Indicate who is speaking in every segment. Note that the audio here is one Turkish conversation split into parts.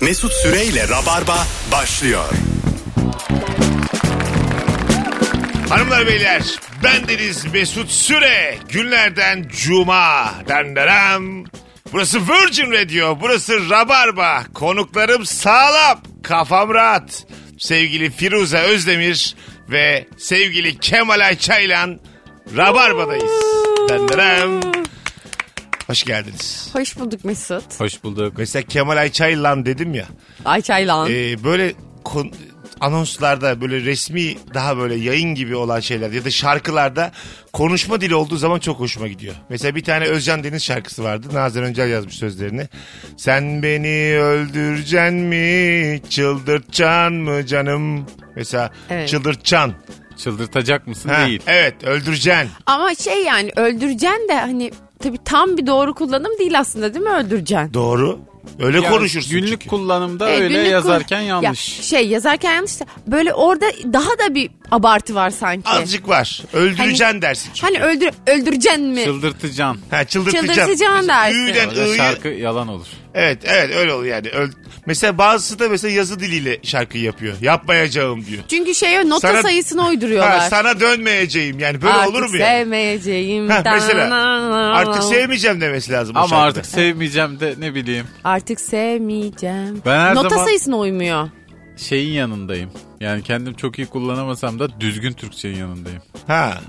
Speaker 1: Mesut Süreyle Rabarba başlıyor.
Speaker 2: Hanımlar beyler ben Deniz Mesut Süre günlerden cuma denderem. Burası Virgin Radio burası Rabarba konuklarım sağlam kafam rahat. Sevgili Firuze Özdemir ve sevgili Kemal Ayça'yla Rabarba'dayız. Denderem. Hoş geldiniz.
Speaker 3: Hoş bulduk Mesut.
Speaker 4: Hoş bulduk.
Speaker 2: Mesela Kemal Ayça'yla dedim ya.
Speaker 3: Ayçaylan.
Speaker 2: Ee, böyle kon- anonslarda böyle resmi daha böyle yayın gibi olan şeylerde ya da şarkılarda konuşma dili olduğu zaman çok hoşuma gidiyor. Mesela bir tane Özcan Deniz şarkısı vardı. Nazan Öncel yazmış sözlerini. Sen beni öldüreceksin mi? Çıldırtacaksın mı canım? Mesela
Speaker 3: Evet.
Speaker 2: çıldırtacaksın.
Speaker 4: Çıldırtacak mısın?
Speaker 2: Ha,
Speaker 4: Değil.
Speaker 2: Evet öldüreceksin.
Speaker 3: Ama şey yani öldüreceksin de hani tabii tam bir doğru kullanım değil aslında değil mi öldüreceksin?
Speaker 2: Doğru. Öyle
Speaker 4: Ya
Speaker 2: konuşursun
Speaker 4: Günlük
Speaker 2: çünkü.
Speaker 4: kullanımda
Speaker 3: Ee,
Speaker 4: öyle
Speaker 3: günlük kul-
Speaker 4: yazarken
Speaker 3: Ya,
Speaker 4: yanlış.
Speaker 3: şey yazarken yanlış da böyle orada daha da bir abartı var sanki.
Speaker 2: Azıcık var. Öldüreceksin
Speaker 3: Hani-
Speaker 2: dersin çünkü.
Speaker 3: Hani öldür öldüreceksin mi?
Speaker 4: Çıldırtacaksın.
Speaker 2: ha, çıldırtacaksın.
Speaker 3: Çıldırtacaksın dersin.
Speaker 2: Ü'den
Speaker 4: Orada
Speaker 2: I'yı-
Speaker 4: şarkı yalan olur.
Speaker 2: Evet evet öyle oluyor yani. Öl- Mesela bazısı da mesela yazı diliyle şarkıyı yapıyor. Yapmayacağım diyor.
Speaker 3: Çünkü şeye nota
Speaker 2: Sana-
Speaker 3: sayısını uyduruyorlar.
Speaker 2: Ha, sana dönmeyeceğim yani böyle
Speaker 3: artık
Speaker 2: olur mu yani?
Speaker 3: sevmeyeceğim.
Speaker 2: Ha, mesela
Speaker 3: Da-na-na-na.
Speaker 2: artık sevmeyeceğim demesi lazım o
Speaker 4: Ama
Speaker 2: şarkıda.
Speaker 4: artık sevmeyeceğim de ne bileyim
Speaker 3: Artık sevmeyeceğim.
Speaker 4: Ben her
Speaker 3: nota
Speaker 4: zaman-
Speaker 3: sayısına uymuyor.
Speaker 4: şeyin yanındayım. Yani kendim çok iyi kullanamasam da düzgün Türkçenin yanındayım.
Speaker 2: Ha,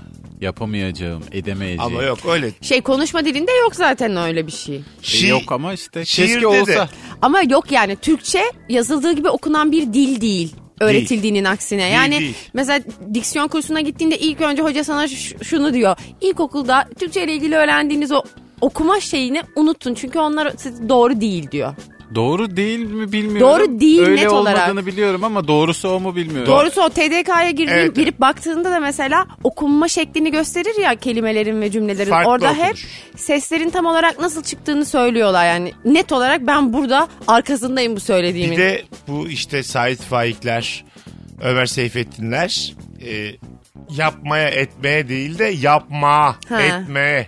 Speaker 4: Yapamayacağım, edemeyeceğim.
Speaker 2: ama yok öyle.
Speaker 3: Şey konuşma dilinde yok zaten öyle bir şey.
Speaker 4: E,
Speaker 2: Şi-
Speaker 4: yok ama işte
Speaker 2: şiirde
Speaker 4: keşke
Speaker 2: de-
Speaker 4: olsa.
Speaker 3: Ama yok yani Türkçe yazıldığı gibi okunan bir dil değil öğretildiğinin aksine. Yani
Speaker 2: değil.
Speaker 3: mesela diksiyon kursuna gittiğinde ilk önce hoca sana ş- şunu diyor. İlkokulda Türkçe ile ilgili öğrendiğiniz o okuma şeyini unutun. Çünkü onlar siz- doğru değil diyor.
Speaker 4: Doğru değil mi bilmiyorum.
Speaker 3: Doğru değil,
Speaker 4: Öyle
Speaker 3: net olarak.
Speaker 4: olmadığını biliyorum ama doğrusu o mu bilmiyorum.
Speaker 3: Doğrusu o TDK'ya girdiğin,
Speaker 2: Evet,
Speaker 3: girip baktığında da mesela okunma şeklini gösterir ya kelimelerin ve cümlelerin.
Speaker 2: Farklı
Speaker 3: Orada
Speaker 2: okunur.
Speaker 3: hep seslerin tam olarak nasıl çıktığını söylüyorlar yani. Net olarak ben burada arkasındayım bu söylediğimin.
Speaker 2: Bir de bu işte Sait Faikler, Ömer Seyfettinler e, yapmaya etmeye değil de yapma
Speaker 3: Ha.
Speaker 2: etmeye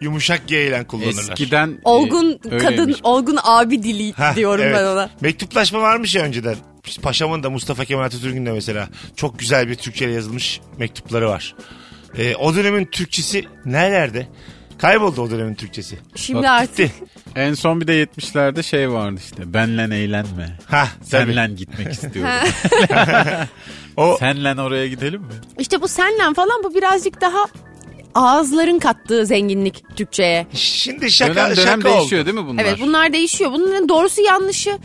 Speaker 2: yumuşak G ile kullanırlar.
Speaker 4: Eskiden e,
Speaker 3: Olgun kadın,
Speaker 4: öyleymiş.
Speaker 3: olgun abi dili
Speaker 2: Heh,
Speaker 3: diyorum
Speaker 2: evet.
Speaker 3: ben ona.
Speaker 2: Mektuplaşma varmış ya önceden. Paşamın da Mustafa Kemal Atatürk'ün de mesela çok güzel bir Türkçe'yle yazılmış mektupları var. Ee, o dönemin Türkçesi nerelerde? Kayboldu o dönemin Türkçesi.
Speaker 3: Şimdi
Speaker 4: Bak,
Speaker 3: artık
Speaker 2: Gitti.
Speaker 4: En son bir de 70'lerde şey vardı işte. Benle eğlenme.
Speaker 2: Ha, tabii.
Speaker 4: Senle gitmek istiyorum.
Speaker 2: O
Speaker 4: Senle oraya gidelim mi?
Speaker 3: işte bu senle falan bu birazcık daha ağızların kattığı zenginlik Türkçe'ye.
Speaker 2: şimdi şaka
Speaker 4: dönem dönem
Speaker 2: şaka
Speaker 4: değişiyor
Speaker 2: oldu.
Speaker 4: değil mi bunlar?
Speaker 3: Evet bunlar değişiyor. Bunların doğrusu yanlışı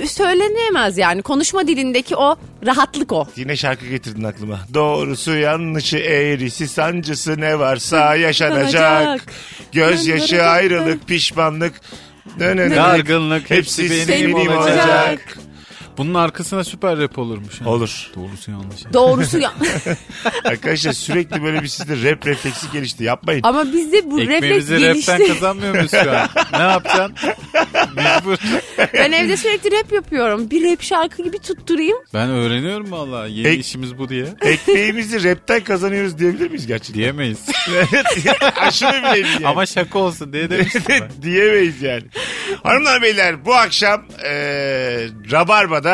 Speaker 3: e, söylenemez yani. Konuşma dilindeki o rahatlık o.
Speaker 2: Yine şarkı getirdin aklıma. Doğrusu yanlışı eğrisi sancısı ne varsa yaşanacak.
Speaker 3: Yaşanacak.
Speaker 2: Gözyaşı ayrılık pişmanlık. Dönenek.
Speaker 4: Dargınlık hepsi, benim,
Speaker 3: benim
Speaker 4: olacak.
Speaker 3: olacak.
Speaker 4: Bunun arkasına süper rap olurmuş. yani.
Speaker 2: Olur.
Speaker 4: Doğrusu yanlış. yani.
Speaker 3: Doğrusu ya-
Speaker 2: Arkadaşlar sürekli böyle bir sizde rap refleksi gelişti. Yapmayın.
Speaker 3: ama bizde bu refleks
Speaker 4: Ekmeğimizi
Speaker 3: gelişti.
Speaker 4: rapten kazanmıyor muyuz şu an? ne yapacaksın? Mecbur.
Speaker 3: ben evde sürekli rap yapıyorum. Bir rap şarkı gibi tutturayım.
Speaker 4: Ben öğreniyorum valla. Yeni
Speaker 2: Ek-
Speaker 4: işimiz bu diye.
Speaker 2: Ekmeğimizi rapten kazanıyoruz diyebilir miyiz gerçekten?
Speaker 4: Diyemeyiz.
Speaker 2: Aşırı bile değil yani.
Speaker 4: Ama şaka olsun diye demiştim ben.
Speaker 2: diyemeyiz yani. Hanımlar beyler bu akşam e, Rabarba'da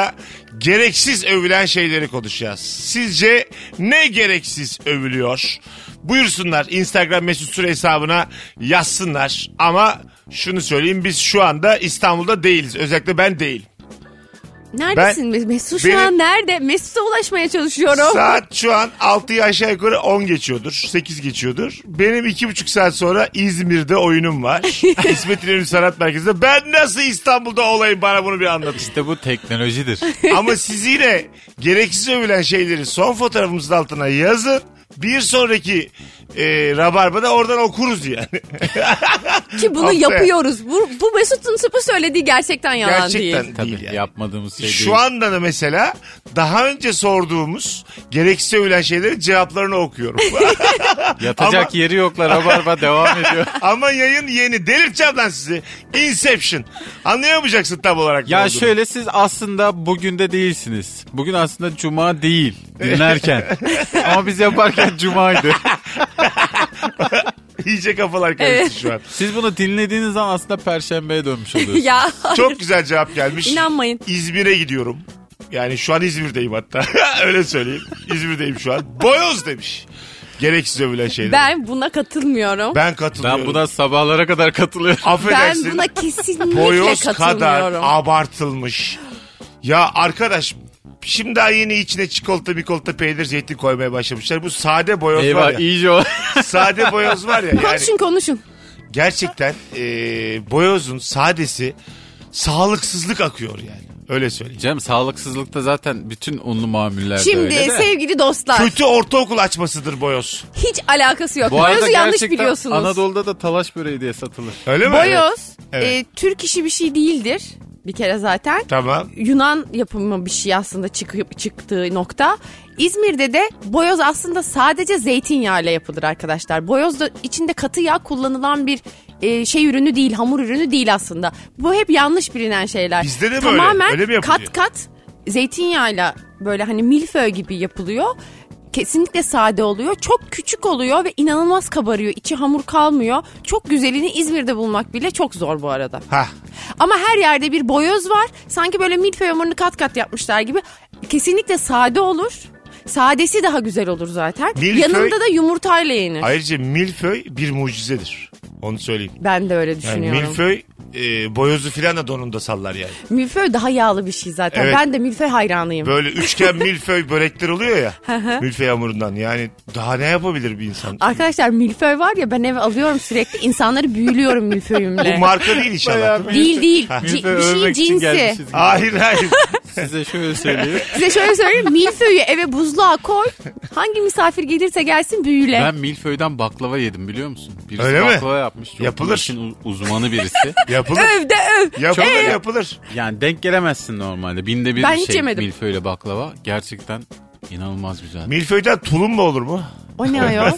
Speaker 2: gereksiz övülen şeyleri konuşacağız. Sizce ne gereksiz övülüyor? Buyursunlar Instagram mesut süre hesabına yazsınlar. Ama şunu söyleyeyim biz şu anda İstanbul'da değiliz. Özellikle ben değilim.
Speaker 3: Neredesin? Mesut şu
Speaker 2: benim-
Speaker 3: an nerede? Mesut'a ulaşmaya çalışıyorum.
Speaker 2: Saat şu an 6'yı aşağı yukarı 10 geçiyordur. 8 geçiyordur. Benim 2,5 saat sonra İzmir'de oyunum var. İsmet İnönü Sanat Merkezi'nde. Ben nasıl İstanbul'da olayım bana bunu bir anlatın.
Speaker 4: İşte bu teknolojidir.
Speaker 2: Ama siz yine gereksiz övülen şeyleri son fotoğrafımızın altına yazın. Bir sonraki e, Rabarba'da oradan okuruz yani.
Speaker 3: Ki bunu
Speaker 2: Haftaya.
Speaker 3: yapıyoruz. Bu, bu Mesut'un sıpı söylediği gerçekten yalan
Speaker 2: Gerçekten
Speaker 3: değil.
Speaker 4: Tabii
Speaker 2: değil yani.
Speaker 4: yapmadığımız şey
Speaker 2: Şu
Speaker 4: değil.
Speaker 2: anda da mesela daha önce sorduğumuz gereksiz övülen şeylerin cevaplarını okuyorum.
Speaker 4: Yatacak yeri yoklar. Rabarba devam ediyor.
Speaker 2: Ama yayın yeni. Delirteceğim lan sizi. Inception. Anlayamayacaksın tam olarak. ne
Speaker 4: Ya
Speaker 2: olduğunu.
Speaker 4: şöyle siz aslında bugün de değilsiniz. Bugün aslında cuma değil. Dinlerken. Ama biz yaparken cumaydı.
Speaker 2: İyice kafalar karıştı
Speaker 3: Evet.
Speaker 2: şu an.
Speaker 4: Siz bunu dinlediğiniz zaman aslında perşembeye dönmüş oluyorsunuz.
Speaker 3: ya
Speaker 2: Çok güzel cevap gelmiş.
Speaker 3: İnanmayın.
Speaker 2: İzmir'e gidiyorum. Yani şu an İzmir'deyim hatta. Öyle söyleyeyim. İzmir'deyim şu an. Boyoz demiş. Gereksiz övülen şeyler. Ben,
Speaker 3: ben buna katılmıyorum. Ben,
Speaker 2: katılıyorum.
Speaker 4: Ben buna sabahlara kadar katılıyorum.
Speaker 2: Affedersin.
Speaker 3: buna kesinlikle
Speaker 2: Boyoz kadar
Speaker 3: katılmıyorum.
Speaker 2: abartılmış. Ya arkadaş şimdi daha yeni içine çikolata, bikolata, peynir, zeytin koymaya başlamışlar. Bu sade boyoz var
Speaker 4: Eyvah
Speaker 2: ya.
Speaker 4: iyice o.
Speaker 2: Sade boyoz var ya. Yani
Speaker 3: Konuşun konuşun.
Speaker 2: gerçekten e, boyozun sadesi sağlıksızlık akıyor yani. Öyle söyleyeyim.
Speaker 4: Cem sağlıksızlıkta zaten bütün unlu mamullerde
Speaker 3: Şimdi
Speaker 4: öyle de.
Speaker 3: sevgili dostlar
Speaker 2: Kötü ortaokul açmasıdır boyoz.
Speaker 3: hiç alakası yok.
Speaker 4: Bu arada
Speaker 3: Boyoz'u yanlış
Speaker 4: gerçekten
Speaker 3: biliyorsunuz.
Speaker 4: Anadolu'da da talaş böreği diye satılır.
Speaker 2: Öyle mi?
Speaker 3: Boyoz
Speaker 2: Evet. Evet.
Speaker 3: e, Türk işi bir şey değildir bir kere zaten.
Speaker 2: Tamam.
Speaker 3: Yunan yapımı bir şey aslında çıkıp çıktığı nokta. İzmir'de de boyoz aslında sadece zeytinyağıyla yapılır arkadaşlar. Boyoz da içinde katı yağ kullanılan bir e, şey ürünü değil, hamur ürünü değil aslında. Bu hep yanlış bilinen şeyler.
Speaker 2: Bizde de böyle,
Speaker 3: Tamamen
Speaker 2: öyle mi yapılıyor?
Speaker 3: kat kat zeytinyağıyla böyle hani milföy gibi yapılıyor. Kesinlikle sade oluyor. Çok küçük oluyor ve inanılmaz kabarıyor. İçi hamur kalmıyor. Çok güzelini İzmir'de bulmak bile çok zor bu arada.
Speaker 2: Ha.
Speaker 3: Ama her yerde bir boyoz var. Sanki böyle milföy hamurunu kat kat yapmışlar gibi. Kesinlikle sade olur. Sadesi daha güzel olur zaten.
Speaker 2: Milföy-
Speaker 3: Yanında da yumurtayla yenir.
Speaker 2: Ayrıca milföy bir mucizedir. Onu söyleyeyim.
Speaker 3: Ben de öyle
Speaker 2: Yani
Speaker 3: düşünüyorum. milföy...
Speaker 2: milföy e, boyozu filan da donunda sallar yani.
Speaker 3: daha yağlı bir şey zaten.
Speaker 2: Evet.
Speaker 3: Ben de milföy hayranıyım.
Speaker 2: Böyle üçgen milföy börekler oluyor ya. milföy hamurundan. Yani daha ne yapabilir bir insan?
Speaker 3: Arkadaşlar milföy var ya ben eve alıyorum sürekli. İnsanları büyülüyorum
Speaker 2: Bu
Speaker 3: milföyümle.
Speaker 2: marka değil inşallah.
Speaker 4: Bayağı
Speaker 2: değil mi?
Speaker 3: değil değil. Ci-
Speaker 4: Biz de
Speaker 3: bir şeyin
Speaker 4: övmek için
Speaker 3: cinsi.
Speaker 4: gelmişiz gibi.
Speaker 2: Hayır hayır.
Speaker 4: Size şöyle söyleyeyim.
Speaker 3: Size şöyle söyleyeyim. Milföyü eve buzluğa koy. Hangi misafir gelirse gelsin büyüle.
Speaker 4: Ben milföyden baklava yedim biliyor musun? Birisi
Speaker 2: Öyle mi?
Speaker 4: baklava yapmış. Çok
Speaker 2: Yapılır.
Speaker 4: bu işin u- uzmanı birisi.
Speaker 2: Yapılır.
Speaker 3: Öv de öv.
Speaker 2: Yapılır yapılır.
Speaker 4: yani denk gelemezsin normalde. Binde bir
Speaker 3: Ben hiç
Speaker 4: şey
Speaker 3: yemedim.
Speaker 4: milföyle baklava. Gerçekten inanılmaz güzel.
Speaker 2: Milföyden tulum da olur mu?
Speaker 3: O ne ayol?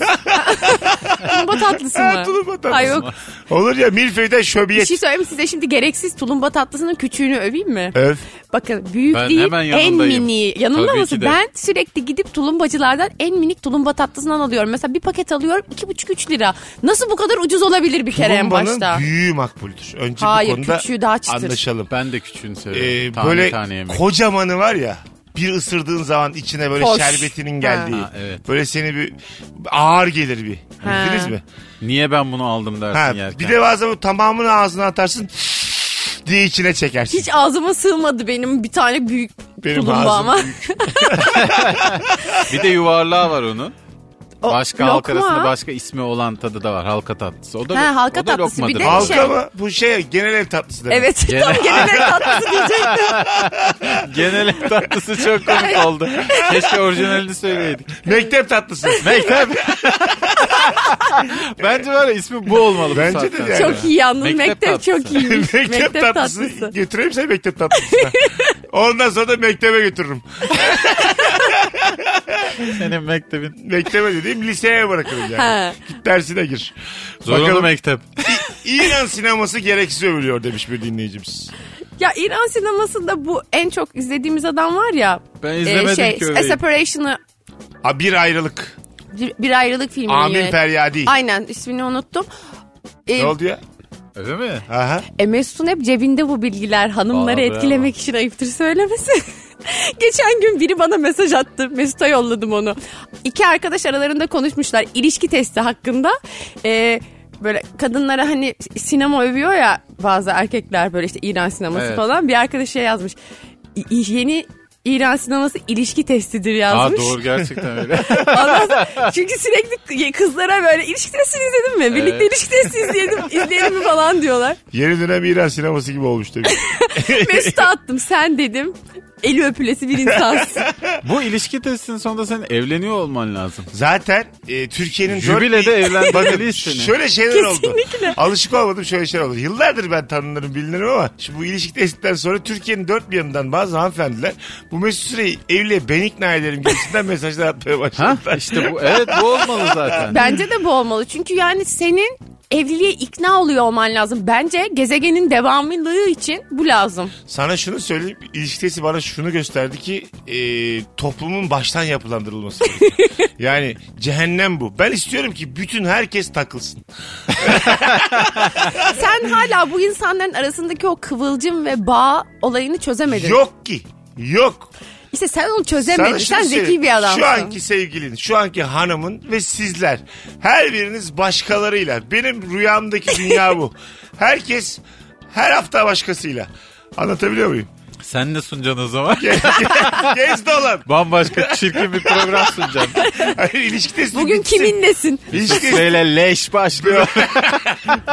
Speaker 3: Tulumba tatlısı mı?
Speaker 2: Ha, tulumba tatlısı.
Speaker 3: Ay yok.
Speaker 2: Olur ya milföyden
Speaker 3: Bir
Speaker 2: şöbiyet.
Speaker 3: şey söyleyeyim mi size şimdi gereksiz tulumba tatlısının küçüğünü öveyim mi?
Speaker 2: Öv.
Speaker 3: Bakın büyük
Speaker 4: Ben
Speaker 3: değil
Speaker 4: hemen
Speaker 3: en
Speaker 4: yanındayım.
Speaker 3: mini. Yanımda
Speaker 4: Tabii ki
Speaker 3: mısın?
Speaker 4: de.
Speaker 3: Ben sürekli gidip tulumbacılardan en minik tulumba tatlısından alıyorum. Mesela bir paket alıyorum 2,5-3 lira. Nasıl bu kadar ucuz olabilir bir kere en başta?
Speaker 2: Tulumbanın büyüğü makbuldür. Önce
Speaker 3: Hayır,
Speaker 2: bu konuda
Speaker 3: küçüğü daha çıtır.
Speaker 2: anlaşalım.
Speaker 4: Ben de küçüğünü seviyorum.
Speaker 2: Ee,
Speaker 4: tane
Speaker 2: böyle
Speaker 4: tane yemek.
Speaker 2: kocamanı var ya bir ısırdığın zaman içine böyle
Speaker 3: Hoş.
Speaker 2: şerbetinin geldiği.
Speaker 4: Ha, evet.
Speaker 2: Böyle seni bir ağır gelir bir.
Speaker 3: Ha.
Speaker 2: Bildiniz mi?
Speaker 4: Niye ben bunu aldım dersin
Speaker 2: Ha,
Speaker 4: yerken.
Speaker 2: bir de bazen bu tamamını ağzına atarsın diye içine çekersin.
Speaker 3: Hiç ağzıma sığmadı benim bir tane büyük
Speaker 2: Benim
Speaker 3: tulumba
Speaker 2: ağzım
Speaker 3: ama.
Speaker 4: Bir de yuvarlağı var onun.
Speaker 3: O
Speaker 4: Başka halk
Speaker 3: lokma.
Speaker 4: arasında başka ismi olan tadı da var. Halka tatlısı. O da,
Speaker 3: Ha, halka
Speaker 4: o da
Speaker 3: tatlısı bir
Speaker 4: lokmadır.
Speaker 3: de
Speaker 4: Halk-
Speaker 2: Halka
Speaker 3: şey-
Speaker 2: mı? Bu şey genel ev tatlısı demek.
Speaker 3: Evet tam genel tatlısı diyecektim.
Speaker 4: Genel ev tatlısı çok komik oldu. Keşke orijinalini söyleydik.
Speaker 2: Mektep tatlısı.
Speaker 4: Mektep. Bence var ya ismi bu olmalı. bu
Speaker 2: Bence de
Speaker 4: saatten
Speaker 2: yani.
Speaker 4: sonra.
Speaker 3: Çok iyi yalnız mektep,
Speaker 4: Mektep
Speaker 3: çok iyi.
Speaker 2: mektep, tatlısı. Götüreyim seni mektep tatlısına. Ondan sonra da mektebe götürürüm.
Speaker 4: Senin mektebin.
Speaker 2: Mektebe dediğim liseye bırakırım yani.
Speaker 3: Ha.
Speaker 2: Git dersine gir.
Speaker 4: Zorunlu
Speaker 2: Bakalım.
Speaker 4: mektep.
Speaker 2: İran sineması gereksiz övülüyor demiş bir dinleyicimiz.
Speaker 3: Ya İran sinemasında bu en çok izlediğimiz adam var ya. e, şey,
Speaker 4: Ben izlemedim ki
Speaker 3: A
Speaker 4: öyle.
Speaker 3: Separation'ı
Speaker 2: A, bir ayrılık.
Speaker 3: bir, bir ayrılık filmini.
Speaker 2: Amin
Speaker 3: yönet-
Speaker 2: Feryadi.
Speaker 3: Aynen ismini unuttum. E,
Speaker 2: Ne oldu ya?
Speaker 4: Öyle mi?
Speaker 2: Aha.
Speaker 3: e, Mesut'un hep cebinde bu bilgiler hanımları
Speaker 4: Aa, bravo.
Speaker 3: etkilemek için ayıptır söylemesi. Geçen gün biri bana mesaj attı. Mesut'a yolladım onu. İki arkadaş aralarında konuşmuşlar ilişki testi hakkında. E, böyle kadınlara hani sinema övüyor ya bazı erkekler böyle işte İran sineması
Speaker 4: Evet.
Speaker 3: falan. Bir arkadaş şey yazmış. "İ- Yeni İran sineması ilişki testidir
Speaker 4: Aa
Speaker 3: yazmış.
Speaker 4: doğru gerçekten öyle.
Speaker 3: Ondan sonra- çünkü sürekli kızlara böyle ilişki testi izledin mi? Birlikte
Speaker 4: Evet.
Speaker 3: ilişki testi izleyelim, izleyelim mi falan diyorlar.
Speaker 2: Yeni dönem İran sineması gibi olmuş demiş.
Speaker 3: Mesut'a attım sen dedim. Eli öpülesi bir insansın.
Speaker 4: Bu ilişki testinin sonunda senin evleniyor olman lazım.
Speaker 2: Zaten e, Türkiye'nin dört...
Speaker 4: Jübilede
Speaker 2: Bakın
Speaker 4: evlenmeliyiz seni.
Speaker 2: şöyle şeyler oldu. Alışık olmadım şöyle şeyler oldu. Yıllardır ben tanınırım bilinirim ama şimdi bu ilişki testinden sonra Türkiye'nin dört bir yanından bazı hanımefendiler bu mesut süreyi evliliğe ben ikna ederim gibisinden mesajlar atmaya
Speaker 4: Ha
Speaker 2: başladılar.
Speaker 4: işte bu evet bu olmalı zaten.
Speaker 3: Bence de bu olmalı. Çünkü yani senin evliliğe ikna oluyor olman lazım. Bence gezegenin devamlılığı için bu lazım.
Speaker 2: Sana şunu söyleyeyim. ilişkisi bana şunu gösterdi ki e, toplumun baştan yapılandırılması. gerekiyor. yani cehennem bu. Ben istiyorum ki bütün herkes takılsın.
Speaker 3: Sen hala bu insanların arasındaki o kıvılcım ve bağ olayını çözemedin.
Speaker 2: Yok ki. Yok.
Speaker 3: İşte sen onu
Speaker 2: Sana
Speaker 3: çözemedin.
Speaker 2: şunu
Speaker 3: Sen zeki
Speaker 2: söyleyeyim.
Speaker 3: bir adamsın.
Speaker 2: Şu anki sevgilin, şu anki hanımın ve sizler. Her biriniz başkalarıyla. Benim rüyamdaki dünya bu. Herkes her hafta başkasıyla. Anlatabiliyor muyum?
Speaker 4: Sen ne sunacaksın o zaman?
Speaker 2: Gez dolan.
Speaker 4: Bambaşka çirkin bir program sunacaksın.
Speaker 2: Hayır, ilişki testi
Speaker 3: Bugün
Speaker 2: bitsin.
Speaker 3: kiminlesin?
Speaker 2: İlişki testi-
Speaker 4: Böyle leş başlıyor.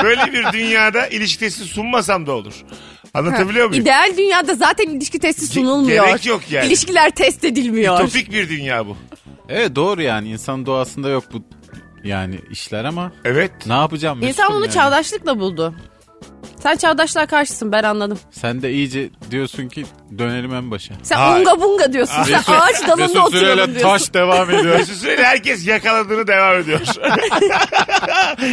Speaker 2: böyle bir dünyada ilişki testi sunmasam da olur. Anlatabiliyor muyum?
Speaker 3: İdeal dünyada zaten ilişki testi sunulmuyor.
Speaker 2: gerek yok yani.
Speaker 3: İlişkiler test edilmiyor.
Speaker 2: Topik bir dünya bu.
Speaker 4: evet doğru yani insan doğasında yok bu yani işler ama
Speaker 2: Evet.
Speaker 4: ne yapacağım?
Speaker 3: İnsan
Speaker 4: Mesut'um
Speaker 3: bunu
Speaker 4: yani.
Speaker 3: çağdaşlıkla buldu. Sen çağdaşlığa karşısın ben anladım.
Speaker 4: Sen de iyice diyorsun ki dönelim en başa.
Speaker 3: Sen
Speaker 2: Hayır.
Speaker 3: unga bunga diyorsun. Sen ağaç dalında
Speaker 4: Süreyle
Speaker 3: oturalım diyorsun.
Speaker 4: taş devam ediyor.
Speaker 2: Mesut Süreyle herkes yakaladığını devam ediyor.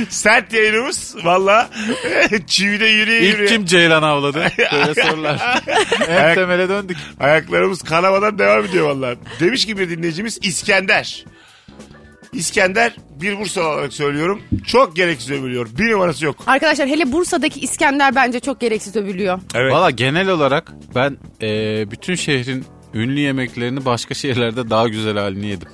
Speaker 2: Sert yayınımız valla çivide yürüye
Speaker 4: İlk
Speaker 2: yürüye.
Speaker 4: kim Ceylan avladı? Böyle sorular. Hep temele döndük.
Speaker 2: Ayaklarımız kanamadan devam ediyor valla. Demiş ki bir dinleyicimiz İskender. İskender bir Bursa olarak söylüyorum. Çok gereksiz övülüyor. Bir numarası yok.
Speaker 3: Arkadaşlar hele Bursa'daki İskender bence çok gereksiz övülüyor.
Speaker 2: Evet.
Speaker 4: Valla genel olarak ben e, bütün şehrin ünlü yemeklerini başka şehirlerde daha güzel halini yedim.